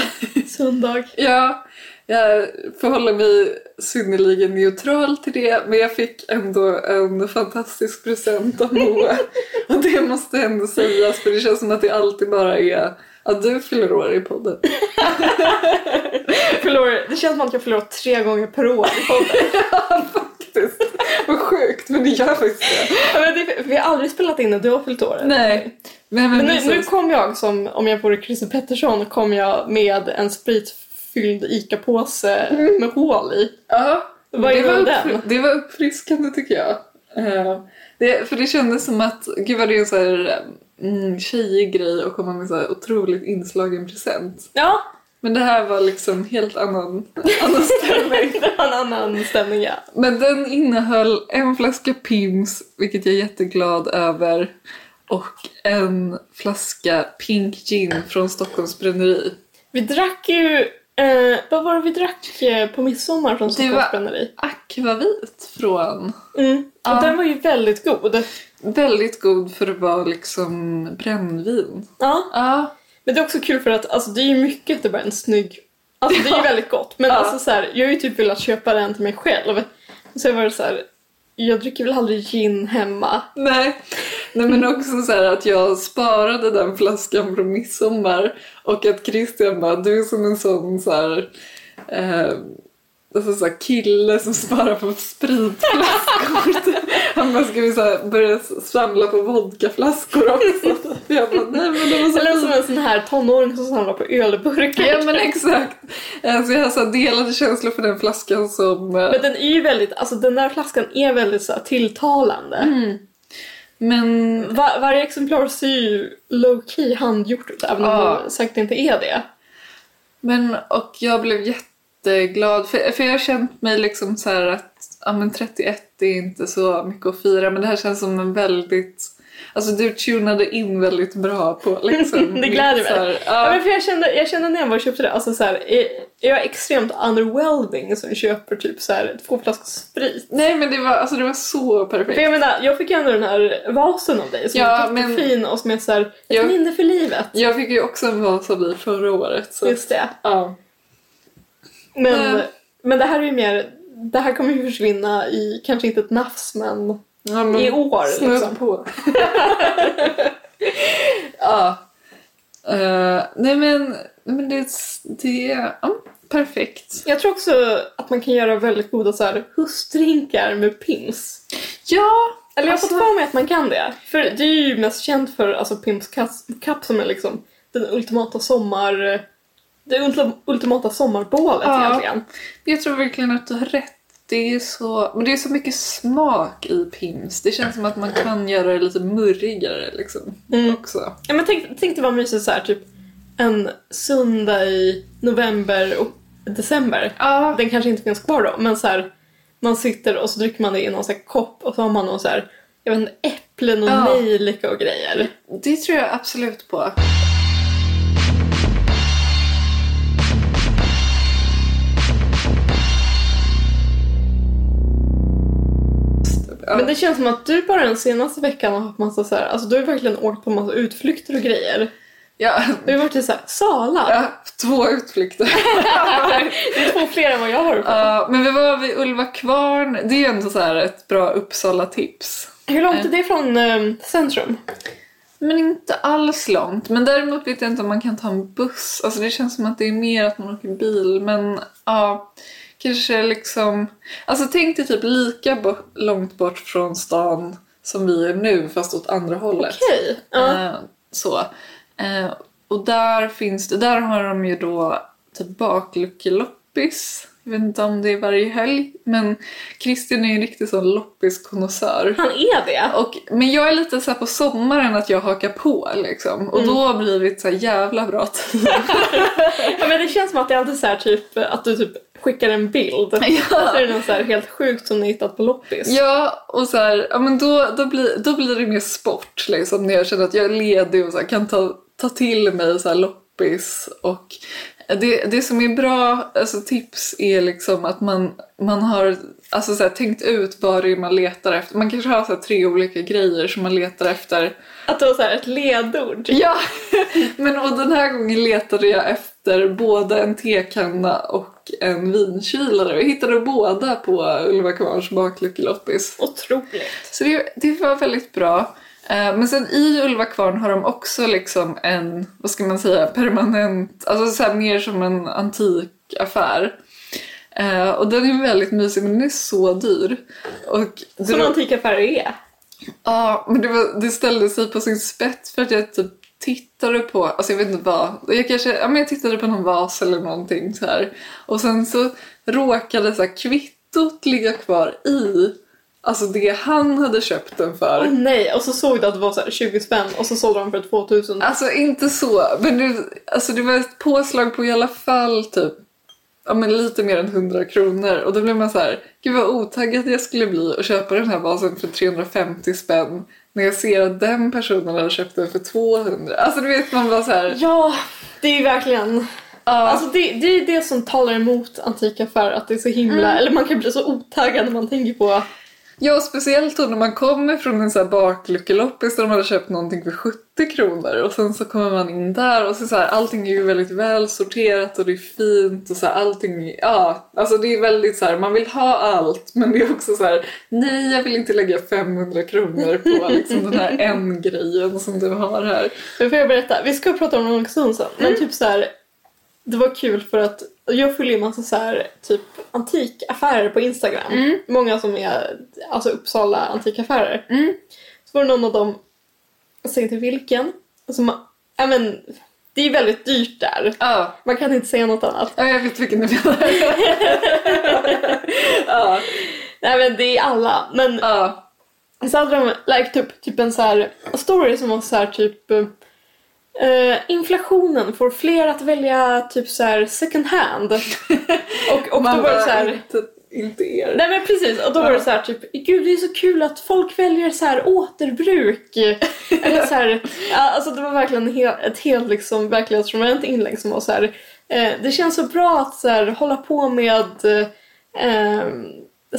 S3: söndag.
S2: Ja, jag förhåller mig synnerligen neutral till det men jag fick ändå en fantastisk present av Moa. Och det måste ändå sägas för det känns som att det alltid bara är att du fyller år i podden.
S3: Jag förlorar, det känns som att jag förlorar tre gånger per år. i podden.
S2: Faktiskt. Vad sjukt men det gör faktiskt det.
S3: Ja, men det, vi har aldrig spelat in när du har fyllt år.
S2: Nej. Men, men,
S3: Men nu,
S2: precis.
S3: nu kom jag som, om jag vore Christer Pettersson, kom jag med en spritfylld ICA-påse med hål i.
S2: ja,
S3: Vad är
S2: Mm. det, var
S3: väl den?
S2: det var uppfriskande tycker jag. Eh, det, för det kändes som att, gud vad det är en så här mm, tjejig grej att komma med så här otroligt inslagen present.
S3: Ja,
S2: Men det här var liksom helt annan, annan stämning.
S3: det var en annan stämning ja.
S2: Men den innehöll en flaska Pims, vilket jag är jätteglad över, och en flaska Pink Gin från Stockholms bränneri.
S3: Vi drack ju, eh, vad var det vi drack eh, på midsommar från Stockholms
S2: var-
S3: bränneri?
S2: Akvavit från
S3: Mm. Och
S2: Ja.
S3: den var ju väldigt god.
S2: Väldigt god för att vara liksom brännvin.
S3: Ja.
S2: Ja.
S3: Men det är också kul för att alltså, det är ju mycket att det bara är en snygg... Alltså det är ju väldigt gott. Men
S2: Ja.
S3: alltså så här, jag har ju typ velat köpa den till mig själv. Och så var det så här, jag dricker väl aldrig gin hemma.
S2: Nej. Nej men också så här att jag sparade den flaskan från midsommar och att Christian bara, du är som en sån så här, eh, alltså så här kille som sparar på spritflaskor. Han bara, ska vi så här börja samla på vodkaflaskor också? Jag bara, nej men det var så
S3: Eller som en sån här tonåring som samlar på ölburkar.
S2: Ja men exakt. Eh, Så jag har så här delade känslor för den flaskan som... eh,
S3: Men den är ju väldigt, alltså den där flaskan är väldigt så här, tilltalande.
S2: Mm. Men
S3: Va- varje exemplar ser ju low key handgjort ut även om
S2: Ja.
S3: det säkert inte är det.
S2: Men och jag blev jätteglad för, för jag har känt mig liksom så här att ja, men 31 är inte så mycket att fira men det här känns som en väldigt Alltså du tunade in väldigt bra på liksom.
S3: Det gläder
S2: mitt så här-
S3: mig. Ja.
S2: ja,
S3: men för jag, kände, jag kände när jag var och köpte det, alltså så här, är, är jag extremt underwhelming som köper typ så här, två flaskor sprit?
S2: nej men det var, alltså, det var så
S3: För
S2: perfekt.
S3: jag menar, jag fick ju ändå den här vasen av dig som
S2: Ja,
S3: var
S2: men-
S3: fin och som är så här, ett
S2: Jag-
S3: minne för livet.
S2: Jag fick ju också en vas av dig förra året. Så,
S3: Just det.
S2: ja.
S3: Men,
S2: Mm.
S3: men det här är ju mer, det här kommer ju försvinna i, kanske inte ett nafs men
S2: Ja, men,
S3: i år
S2: Snudd
S3: liksom.
S2: på. ja. Eh, nej men, nej, men det, det är ja, perfekt.
S3: Jag tror också att man kan göra väldigt goda så här, hustdrinkar med pims.
S2: Ja,
S3: Eller jag har fått
S2: Alltså-
S3: för mig att man kan det. För det är ju mest känt för alltså, Pimps Cup- Cup som är liksom den ultimata sommar... Det ultim- ultimata sommarbålet
S2: Ja.
S3: egentligen.
S2: jag tror verkligen att du har rätt. Det är så, men det är så mycket smak i pims. Det känns som att man kan göra det lite murrigare liksom.
S3: Mm.
S2: Också.
S3: Ja, men tänk, tänk det var mysigt så här, typ en söndag i november och december.
S2: Ja.
S3: Den kanske inte finns kvar då, men så här, man sitter och så dricker man det i någon så här kopp och så har man någon så här, jag vet inte, äpplen och
S2: Ja.
S3: nejlika och grejer.
S2: Det tror jag absolut på. Ja.
S3: Men det känns som att du bara den senaste veckan har haft massa så här, alltså du har ju verkligen åkt på massa utflykter och grejer.
S2: Ja,
S3: Du har ju varit i så här, Sala.
S2: ja, två utflykter.
S3: Det är två fler än vad jag har.
S2: Ja, men vi var vid Ulva Kvarn. Det är ju ändå så här ett bra Uppsala-tips.
S3: Hur långt är det från ehm, centrum?
S2: Men inte alls långt. Men däremot vet jag inte om man kan ta en buss. Alltså det känns som att det är mer att man åker bil. Men ja, kanske liksom... Alltså tänk dig typ lika bo- långt bort från stan som vi är nu, fast åt andra hållet.
S3: Okej. Ja.
S2: Eh, så. Eh, och där finns det, där har de ju då typ bakluckeloppis. Jag vet inte om det är varje helg, men Christian är ju en riktig sån loppiskonnässör.
S3: Han är det.
S2: Och, men jag är lite så här på sommaren att jag hakar på liksom. Och då blir det så här jävla bra tid.
S3: Ja, men det känns som att det är alltid så här typ att du typ skickar en bild. Och så är det något så här helt sjukt som ni hittat på loppis.
S2: Ja, och så här, ja, men då, då, blir, då blir det mer sport liksom, när jag känner att jag är ledig och så här, kan ta, ta till mig så här, loppis. Och det, det som är bra alltså, tips är liksom att man, man har alltså, så här, tänkt ut vad det är man letar efter. Man kanske har så här, tre olika grejer som man letar efter.
S3: Att det var så här ett ledord.
S2: Ja, men och den här gången letade jag efter både en tekanna och en vinkylare. Jag hittade båda på Ulva Kvarns bakluckeloppis.
S3: Otroligt.
S2: Så det, det var väldigt bra. Eh, Men sen i Ulva Kvarn har de också liksom en, vad ska man säga, permanent, alltså så här mer som en antikaffär. Eh, Och den är väldigt mysig men den är så dyr. Och det
S3: Som
S2: var-
S3: antikaffärer är.
S2: Ja, men det, var, det ställde sig på sin spets för att jag typ tittade på, alltså jag vet inte vad, jag kanske, ja men jag tittade på någon vas eller någonting så här. Och sen så råkade så här kvittot ligga kvar i, alltså det han hade köpt den för.
S3: Åh nej, och så såg du att det var så här 20 spänn och så sålde de för 2000.
S2: Alltså inte så, men det, alltså, det var ett påslag på i alla fall typ ja, men lite mer än 100 kronor. Och då blev man så här, gud vad otaggad jag skulle bli och köpa den här vasen för 350 spänn när jag ser att den personen har köpt den för 200. Alltså du vet man bara så här,
S3: Ja, det är ju verkligen
S2: ja,
S3: Alltså det, det är
S2: Mm.
S3: det som talar emot antikaffärer, att det är så himla... Eller man kan bli så otaggad när man tänker på
S2: Ja, speciellt då när man kommer från en så här bakluckeloppis där de hade köpt någonting för 70 kronor och sen så kommer man in där och så, så här, allting är ju väldigt väl sorterat och det är fint och så här, allting, ja, alltså det är väldigt så här, man vill ha allt men det är också så här, nej jag vill inte lägga 500 kronor på liksom den här en grejen som du har här.
S3: Nu får jag berätta. Vi ska prata om det någon stund sen. Men typ så här, det var kul för att jag följer en massa så här, typ antikaffärer på Instagram. Många som är alltså Uppsala antikaffärer.
S2: Mm.
S3: Så var det någon av dem, jag säger inte vilken, som, ja men det är väldigt dyrt där.
S2: Ja,
S3: Man kan inte säga något annat.
S2: ja jag vet vilken du menar. ja,
S3: Nej men det är alla. Men
S2: ja,
S3: Så hade de lagt upp typ en så här story som var så här typ eh, inflationen får fler att välja typ så här second hand. och, och då var det så här,
S2: inte, inte er.
S3: Nej men precis, och då var det så här typ Gud det är så kul att folk väljer så här återbruk. Eller så här, ja, alltså det var verkligen en hel, ett helt liksom verklighetsfrånvänt inlägg som var så här eh, Det känns så bra att så här, hålla på med eh, eh,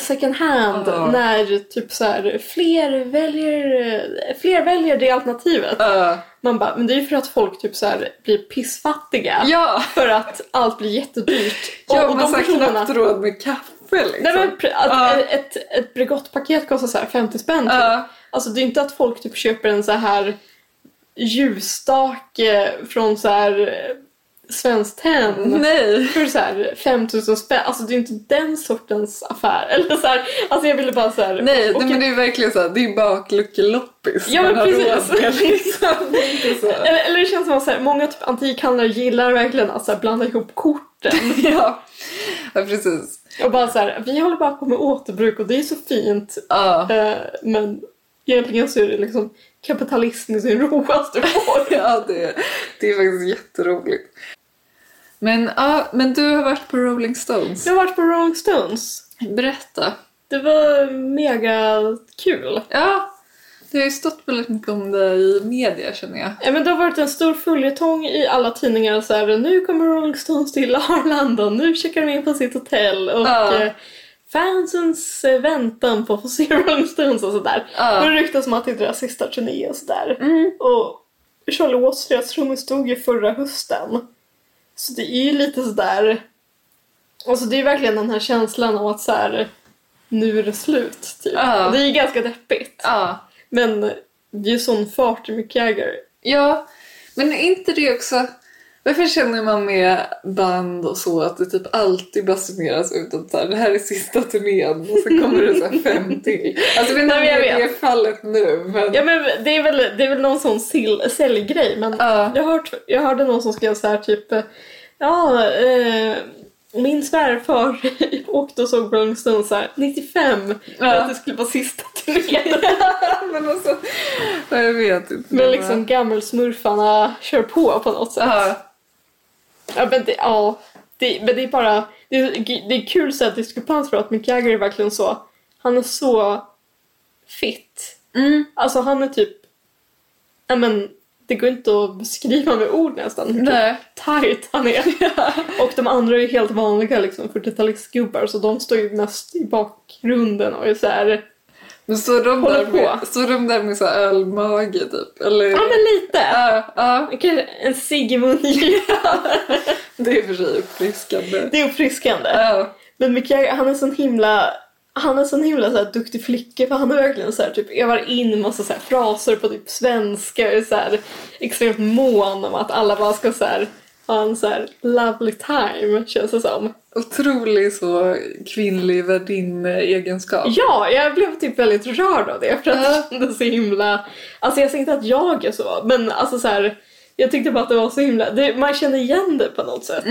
S3: second hand
S2: Ja.
S3: när typ så här fler väljer, eh, fler väljer det alternativet.
S2: Ja.
S3: Man bara, men det är ju för att folk typ så här blir pissfattiga.
S2: Ja,
S3: För att allt blir jättedyrt.
S2: ja man har knappt råd med kaffe liksom.
S3: Nej, men pr- att
S2: Ja.
S3: ett, ett Bregottpaket kostar så här 50 spänn. typ.
S2: Ja.
S3: Alltså det är inte att folk typ köper en så här ljusstake från så här eh, Svenskt Tenn
S2: Nej.
S3: för så här 5000 spänn. Alltså det är inte den sortens affär. Eller så här, alltså jag ville bara så här...
S2: Nej,
S3: okej.
S2: nej, men det är verkligen så här, det är bakluckeloppis.
S3: Ja, men
S2: Man har
S3: precis.
S2: råd med, liksom. Det är inte så.
S3: eller, eller det känns som att så här, många typ antikhandlare gillar verkligen att så här, blanda ihop korten.
S2: Ja. ja, precis.
S3: Och bara så här, vi håller bara på med återbruk och det är så fint.
S2: Ja.
S3: Eh, men egentligen så är det liksom kapitalism i sin roaste form.
S2: Ja, det, det är faktiskt jätteroligt. Men, ja, men du har varit på Rolling Stones.
S3: Jag har varit på Rolling Stones.
S2: Berätta.
S3: Det var mega kul.
S2: Ja, det har ju stått väldigt mycket om det i media känner jag.
S3: Ja, men det har varit en stor följetong i alla tidningar. Så här, nu kommer Rolling Stones till Arlanda, nu checkar de in på sitt hotell. Och
S2: Ja.
S3: eh, fansens eh, väntan på att få se Rolling Stones och sådär.
S2: Ja.
S3: Det ryktas om att det är deras sista turné och sådär.
S2: Mm.
S3: Och Charlie Watts, deras trummis, dog ju förra hösten. Så det är ju lite sådär... Alltså det är verkligen den här känslan av att så här, nu är det slut. Typ.
S2: Ja.
S3: Det är ju ganska deppigt.
S2: Ja.
S3: Men det är ju sån fart i Mick Jagger.
S2: Ja, men är inte det också... Varför känner man med band och så att det typ alltid basuneras ut att så här, det här är sista turnén och så kommer det så här fem till. Alltså jag vet inte
S3: Nej,
S2: om
S3: men
S2: det
S3: jag
S2: är fallet nu men...
S3: Ja men det är väl, det är väl någon sån sill- säljgrej men
S2: Ja.
S3: jag, har hört, jag hörde någon som skrev så här typ eh, Ja, eh, min svärfar åkte och såg Rolling Stones så här, 95 för
S2: Ja.
S3: att det skulle vara sista turnén.
S2: men alltså, ja, jag vet inte.
S3: men liksom gammelsmurfarna kör på på något sätt.
S2: Ja,
S3: Ja men det, ja, det, men det är bara, det, är- det är kul så här diskrepans för att Mick Jagger är verkligen så, han är så fit.
S2: mm,
S3: Alltså han är typ... Ja, men, det går inte att beskriva med ord nästan hur typ
S2: nej.
S3: tight han är. och de andra är ju helt vanliga liksom 40-talistgubbar så de står ju mest i bakgrunden och är så här...
S2: Men står de,
S3: Håller
S2: där med,
S3: på.
S2: står de där med så här ölmage typ? Eller?
S3: Ja men lite!
S2: Ja, ja,
S3: Kanske en cigg i mungipan.
S2: det är i och för sig uppfriskande.
S3: Det är uppfriskande.
S2: Ja,
S3: Men Mick Jagger, han är sån himla... Han är sån himla så här, duktig flicka för han är verkligen så här, typ övar in massa så här, fraser på typ svenska och är så här, extremt mån om att alla bara ska så här, ha en så här lovely time känns det som.
S2: otrolig så kvinnlig värdinne-egenskap.
S3: Ja, jag blev typ väldigt rörd av det för att det kändes så himla... Alltså jag säger inte att jag är så men alltså så här, jag tyckte bara att det var så himla... Det, man kände igen det på något sätt.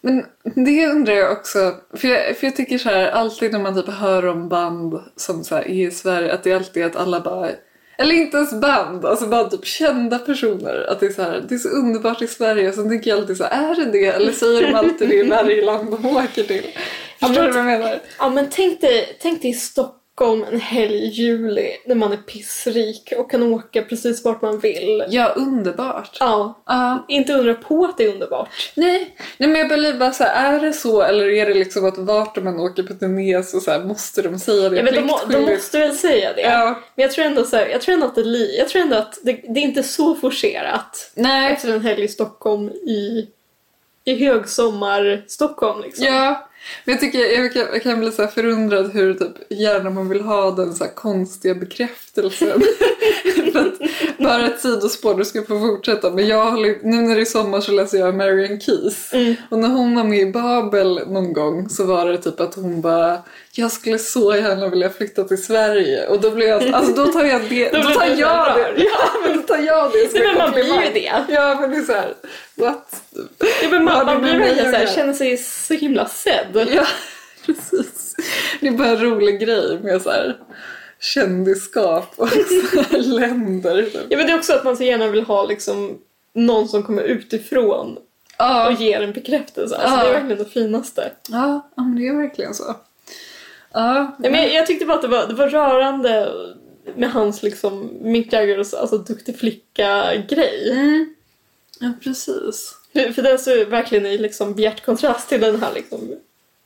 S2: Men det undrar jag också, för jag, för jag tycker så här alltid när man typ hör om band som så här är i Sverige att det alltid är att alla bara eller inte ens band, alltså bara typ kända personer. Att det är så här, det är så underbart i Sverige. Sen tänker jag alltid så här, är det det? Eller säger de alltid det i varje land de åker till? Förstår du vad jag menar?
S3: Ja men tänk dig, tänk dig Stockholm Stockholm en helg i juli när man är pissrik och kan åka precis vart man vill.
S2: Ja, underbart.
S3: Ja,
S2: Ja.
S3: inte undra på att det är underbart.
S2: Nej. Nej, men jag blir bara så här, är det så eller är det liksom att vart man åker på turné så, så här, måste de säga det
S3: Ja, men de, må- de
S2: pliktskyldigt?
S3: måste väl säga det.
S2: Ja.
S3: Men jag tror ändå, så här, jag tror ändå att, det, li- jag tror ändå att det, det är inte så forcerat
S2: Nej.
S3: efter en helg i Stockholm i, i högsommar-Stockholm. Liksom.
S2: Ja. Men jag tycker jag kan, jag kan bli så här förundrad hur typ, gärna man vill ha den så här konstiga bekräftelsen. För att, bara ett sidospår, du ska få fortsätta. Men jag håller, ju- nu när det är sommar så läser jag Marian Keys.
S3: Mm.
S2: Och när hon var med i Babel någon gång så var det typ att hon bara Jag skulle så gärna vilja flytta till Sverige och då blev jag alltså då tar jag det,
S3: Då
S2: då,
S3: blir
S2: tar
S3: du
S2: jag
S3: rörd.
S2: det, ja men då tar jag det som
S3: Nej,
S2: en
S3: men man blir ju
S2: komplimang.
S3: det.
S2: Ja men det är såhär, what?
S3: Ja, men
S2: Ja,
S3: man,
S2: det
S3: man
S2: blir
S3: blir
S2: mig
S3: verkligen så här,
S2: jag.
S3: känner sig så himla sedd.
S2: Ja precis, det är bara en rolig grej med såhär kändisskap och så här länder typ.
S3: Ja, men det är också att man så gärna vill ha liksom, någon som kommer utifrån och
S2: Ja,
S3: ger en bekräftelse. Alltså,
S2: Ja.
S3: Det är verkligen det finaste.
S2: ja ja, men det är verkligen så. Ja,
S3: Nej, men jag, jag tyckte bara att det var, det var rörande med hans liksom, Mick Jaggers alltså, duktig flicka-grej.
S2: mm. ja precis.
S3: För, för den står ju verkligen i liksom, bjärt kontrast till den här liksom,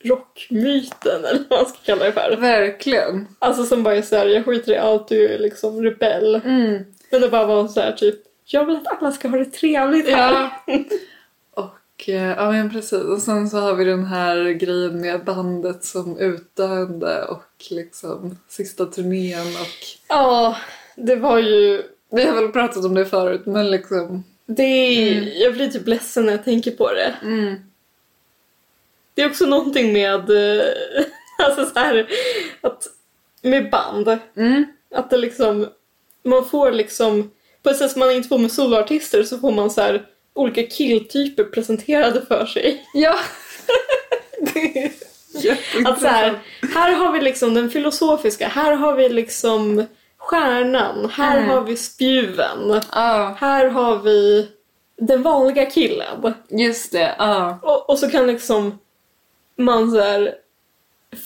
S3: rockmyten, eller vad man ska kalla det för.
S2: Verkligen.
S3: Alltså som bara är såhär, jag skiter i allt, du är liksom rebell.
S2: Mm.
S3: Men det bara var så här typ, jag vill att alla ska ha det trevligt här.
S2: Ja. Och, eh, ja men precis. Och sen så har vi den här grejen med bandet som utdöende och liksom sista turnén och
S3: Ja, det var ju...
S2: vi har väl pratat om det förut men liksom
S3: Det är, Jag blir typ ledsen när jag tänker på det. Det är också någonting med... eh, Alltså så här, att med band.
S2: Mm.
S3: Att det liksom... Man får liksom... På ett sätt som man inte får med soloartister så får man så här olika killtyper presenterade för sig.
S2: Ja.
S3: Att så här, här har vi liksom den filosofiska, här har vi liksom stjärnan, här
S2: Mm.
S3: har vi spjuven.
S2: Ja,
S3: Här har vi den vanliga killen.
S2: just det. Ja.
S3: Och, och så kan liksom man så här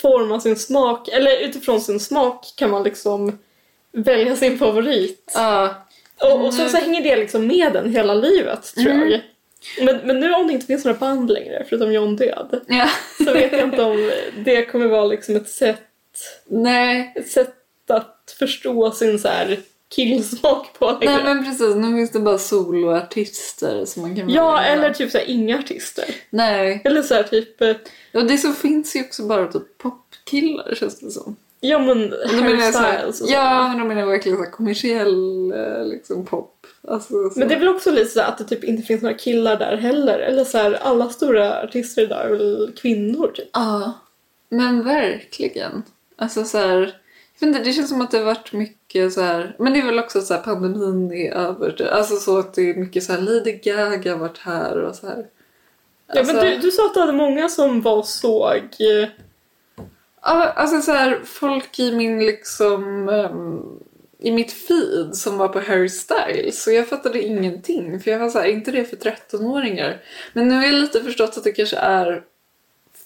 S3: forma sin smak, eller utifrån sin smak kan man liksom välja sin favorit.
S2: Ja.
S3: Och, och så,
S2: Mm.
S3: så hänger det liksom med den hela livet, tror jag. Men, men nu om det inte finns några band längre, förutom John Död,
S2: Ja.
S3: så vet jag inte om det kommer vara liksom ett sätt,
S2: Nej.
S3: ett sätt att förstå sin så här killsmak på längre.
S2: Nej men precis, nu finns det bara soloartister som man kan
S3: Ja,
S2: välja.
S3: eller typ så här, inga artister.
S2: Nej.
S3: Eller så här typ, eh,
S2: Ja, det som finns ju också bara typ popkillar känns det som.
S3: ja men
S2: Då menar
S3: Harry
S2: jag så här-
S3: Styles och så.
S2: Ja, men de menar verkligen så här kommersiell eh, liksom, pop. Alltså, så.
S3: Men det är väl också lite så här att det typ inte finns några killar där heller. Eller så här, alla stora artister idag är väl kvinnor typ.
S2: Ja, men verkligen. Alltså så här... Jag vet inte, det känns som att det har varit mycket så här... Men det är väl också så här pandemin är över. det- Alltså så att det är mycket så här Lady Gaga har varit här och så här. Alltså-
S3: ja, men du, du sa att du hade många som var såg... eh,
S2: Ja, alltså så här, folk i min liksom... ehm, i mitt feed som var på Harry Styles så jag fattade ingenting för jag var så här, inte det för 13-åringar? Men nu har jag lite förstått att det kanske är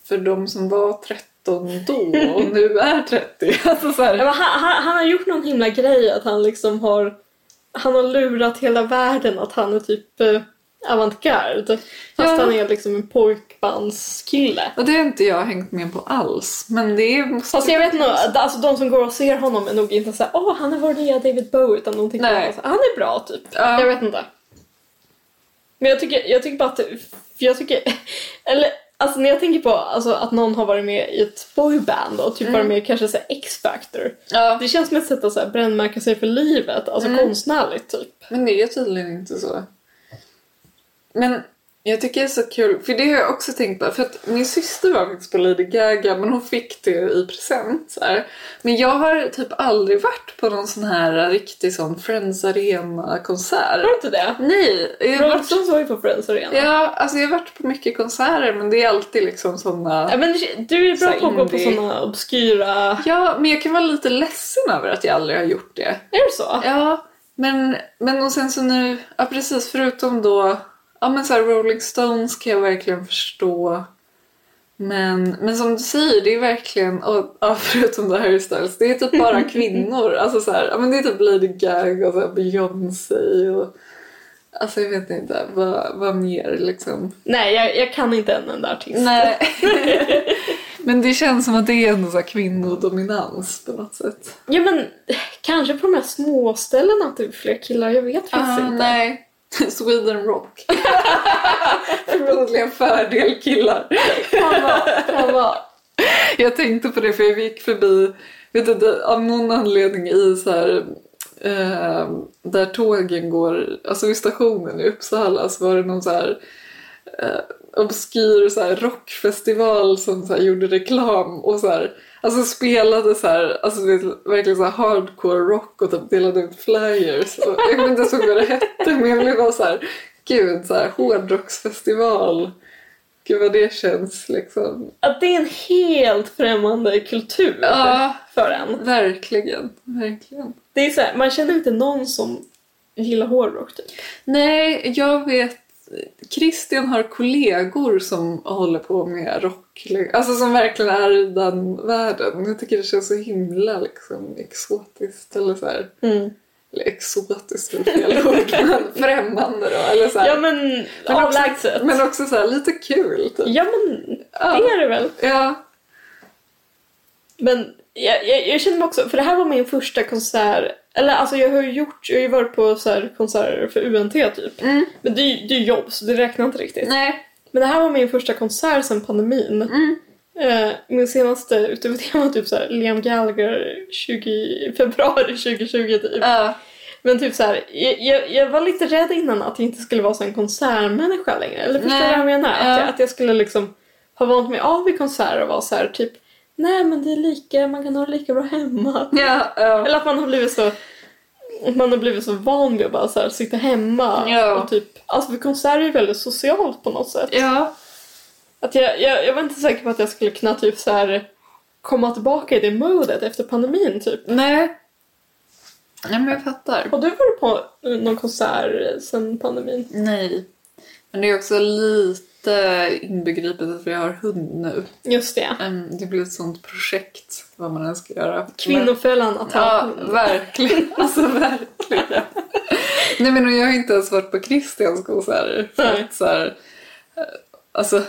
S2: för de som var 13 då och nu är 30. Alltså så
S3: Ja,
S2: här,
S3: men han, han, han har gjort någon himla grej att han liksom har... Han har lurat hela världen att han är typ eh, avantgarde. Fast
S2: Ja.
S3: han är liksom en pojkbandskille.
S2: och det har inte jag hängt med på alls men det är...
S3: Fast jag vet nog, alltså de som går och ser honom är nog inte såhär åh han är vår nya David Bowie utan de tänker
S2: Nej.
S3: bara så här, han är bra typ.
S2: Ja.
S3: Jag vet inte. Men jag tycker, jag tycker bara att, det- för jag tycker, eller alltså när jag tänker på alltså, att någon har varit med i ett boyband och typ varit
S2: Mm.
S3: med i kanske såhär X-Factor.
S2: Ja,
S3: Det känns som ett sätt att så här, brännmärka sig för livet, alltså
S2: Mm.
S3: konstnärligt typ.
S2: men det är tydligen inte så. Men jag tycker det är så kul, för det har jag också tänkt på. För att min syster var faktiskt på Lady Gaga men hon fick det i present. Så här. Men jag har typ aldrig varit på någon sån här riktig sån Friends Arena-konsert.
S3: Tror du inte det?
S2: Nej, jag har varit,
S3: Robertson var ju på Friends Arena.
S2: ja, alltså jag har varit på mycket konserter men det är alltid liksom såna...
S3: Ja, men du är
S2: Så
S3: bra på att gå på
S2: indie.
S3: såna obskyra...
S2: Ja, men jag kan vara lite ledsen över att jag aldrig har gjort det.
S3: Är det så?
S2: Ja, men, men och sen så nu, ja precis, förutom då, ja men så här Rolling Stones kan jag verkligen förstå. Men, men som du säger, det är verkligen, och, ja, förutom det Harry Styles, det är typ bara kvinnor. Alltså så här, ja, men det är typ Lady Gaga och så här Beyoncé och... Alltså jag vet inte, vad, vad mer liksom?
S3: Nej, jag, jag kan inte en enda artist.
S2: Nej. men det känns som att det är en så här kvinnodominans på något sätt.
S3: Ja, men kanske på de här småställena att det är fler killar. Jag vet faktiskt inte.
S2: Ah, nej. Sweden Rock. Förmodligen fördel killar.
S3: Kan vara, kan vara.
S2: Jag tänkte på det för jag gick förbi, vet inte, av någon anledning i så här eh, där tågen går, alltså vid stationen i Uppsala så var det någon så här eh, obskyr så här rockfestival som så här gjorde reklam och så här Alltså spelade så här, alltså det är verkligen så här hardcore rock och typ delade ut flyers. Och jag kommer inte ens ihåg vad det hette men jag blev bara så här, gud så här hårdrocksfestival. Gud vad det känns liksom.
S3: Att det är en helt främmande kultur
S2: Ja.
S3: för en.
S2: Verkligen, verkligen.
S3: Det är så här, man känner inte någon som gillar hårdrock typ.
S2: Nej, jag vet. Christian har kollegor som håller på med rock. Alltså som verkligen är i den världen. Jag tycker det känns så himla liksom exotiskt. Eller så här. Eller exotiskt är fel ord. men Främmande då. Eller så här.
S3: Ja men, avlägset.
S2: också, men också så här lite kul. Typ.
S3: Ja men det
S2: Ja.
S3: är det väl.
S2: Ja.
S3: Men jag, jag, jag känner mig också, för det här var min första konsert, eller alltså jag har ju gjort, jag har ju varit på så här konserter för UNT typ.
S2: Mm.
S3: Men det är ju det är ju jobb så det räknar inte riktigt.
S2: Nej.
S3: Men det här var min första konsert sedan pandemin.
S2: Mm.
S3: Eh, min senaste utöver det var typ så här Liam Gallagher 20, februari 2020 typ.
S2: Ja.
S3: Men typ så här, jag, jag, jag var lite rädd innan att jag inte skulle vara så en konsertmänniska längre. Eller förstår du
S2: Nej.
S3: vad jag menar? Att,
S2: Ja.
S3: jag, att jag skulle liksom ha vant mig av vid konserter och vara så här typ Nej men det är lika, man kan ha det lika bra hemma.
S2: Ja. ja.
S3: Eller att man har blivit så att man har blivit så van vid att bara så här, sitta hemma.
S2: Ja.
S3: Och typ, alltså för konserter är ju väldigt socialt på något sätt.
S2: ja.
S3: Att jag, jag, jag var inte säker på att jag skulle kunna typ så här komma tillbaka i det modet efter pandemin typ.
S2: Nej. Nej men jag fattar.
S3: Har du varit på någon konsert sen pandemin?
S2: Nej. Men det är också lite inbegripet att vi har hund nu.
S3: Just det.
S2: Ehm, Det blir ett sånt projekt vad man än ska göra.
S3: Kvinnofällan att
S2: Men,
S3: ha
S2: ja,
S3: hund.
S2: verkligen. Alltså verkligen. Nej men och jag har inte ens varit på Christians konserter. För
S3: Nej.
S2: att så här, eh, alltså,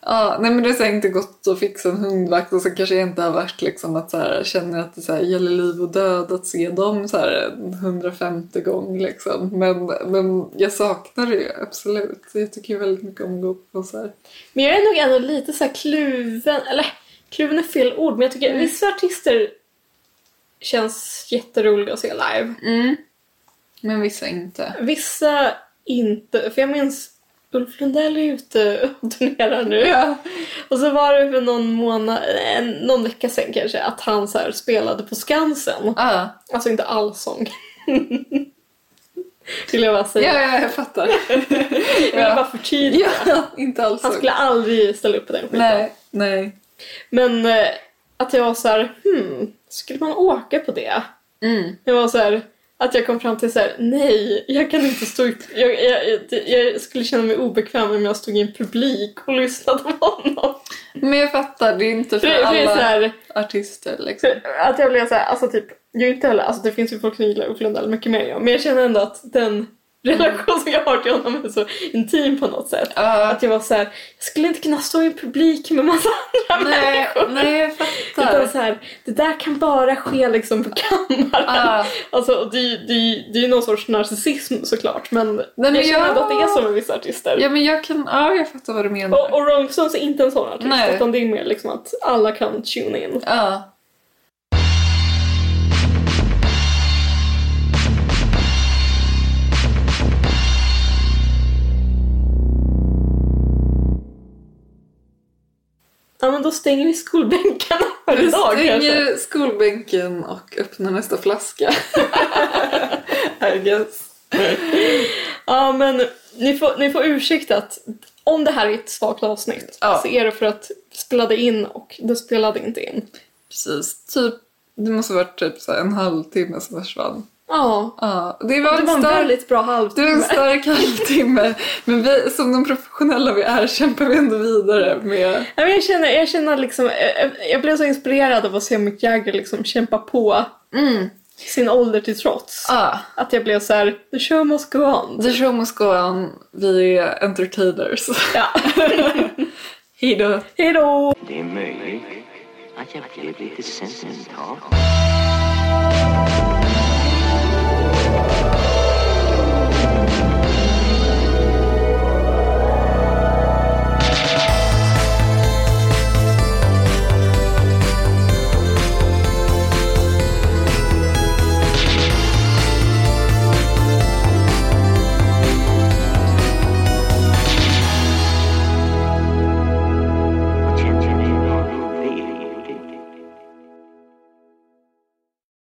S2: ja, nej men det har så här inte gått att fixa en hundvakt och så kanske jag inte har varit liksom att så här, känner att det så här, gäller liv och död att se dem så här en 150 gång liksom. Men, men jag saknar det ju absolut. Jag tycker ju väldigt mycket om att gå på konserter.
S3: Men jag är nog ändå lite så här kluven, eller kluven är fel ord, men jag tycker
S2: Mm.
S3: vissa artister känns jätteroliga att se live.
S2: Mm. Men vissa inte.
S3: Vissa inte, för jag minns Ulf Lundell är ute och turnerar nu. Och så var det för någon månad, eh, någon vecka sen kanske, att han så här spelade på Skansen.
S2: Ah.
S3: Alltså inte allsång. Vill jag bara
S2: Ja,
S3: säga.
S2: ja, jag fattar.
S3: Jag ville bara förtydliga.
S2: Ja, inte alls
S3: Han
S2: så.
S3: skulle aldrig ställa upp på den skiten.
S2: Nej, nej.
S3: Men eh, att jag var så här, hmm, skulle man åka på det?
S2: Mm.
S3: Jag var så här, att jag kom fram till så här, nej, jag kan inte stå ut. Jag, jag, jag, jag skulle känna mig obekväm om jag stod i en publik och lyssnade på honom.
S2: Men jag fattar, det är inte
S3: För
S2: för
S3: det, för det är så
S2: alla
S3: här,
S2: artister liksom.
S3: för att jag blev så här, alltså typ, jag är inte heller, alltså det finns ju folk som gillar Ulf Lundell mycket mer än jag, men jag känner ändå att den relation som jag har till honom är så intim på något sätt.
S2: Ja,
S3: Att jag var så här, jag skulle inte kunna stå i en publik med massa andra
S2: nej,
S3: människor.
S2: nej, jag
S3: Utan
S2: fattar.
S3: Typ så här, det där kan bara ske liksom på kammaren.
S2: Ja.
S3: Alltså, och det, är ju- det, är ju- det är ju någon sorts narcissism såklart men,
S2: men
S3: jag känner
S2: jag-
S3: ändå att det är så med vissa artister.
S2: Ja, men jag kan, ja, jag fattar vad du
S3: Och,
S2: menar.
S3: och Rolling Stones är inte en sån artist
S2: Nej.
S3: utan det är mer liksom att alla kan tune in.
S2: Ja.
S3: Ja men då stänger vi skolbänkarna för
S2: Vi
S3: idag kanske.
S2: stänger skolbänken och öppnar nästa flaska. I guess.
S3: Ja men ni får, ni får ursäkta att om det här är ett svagt avsnitt
S2: Ja.
S3: så är det för att vi spelade in och det spelade inte in.
S2: Precis, typ, det måste ha varit typ så här en halvtimme som försvann.
S3: Ja.
S2: Ja, det var,
S3: Det var en
S2: en stark,
S3: väldigt bra
S2: det var en
S3: halvtimme.
S2: stark halvtimme. Men vi, som de professionella vi är kämpar vi ändå vidare med...
S3: Nej, men jag känner, jag känner liksom, jag- jag blev så inspirerad av att se Mick Jagger liksom kämpa på
S2: Mm.
S3: sin ålder till trots.
S2: Ah,
S3: Att jag blev så här: the show must go on.
S2: the show must go on. Vi är entertainers.
S3: Ja.
S2: Hej då.
S3: Hejdå!
S1: Det är möjligt att jag blev lite sentimental.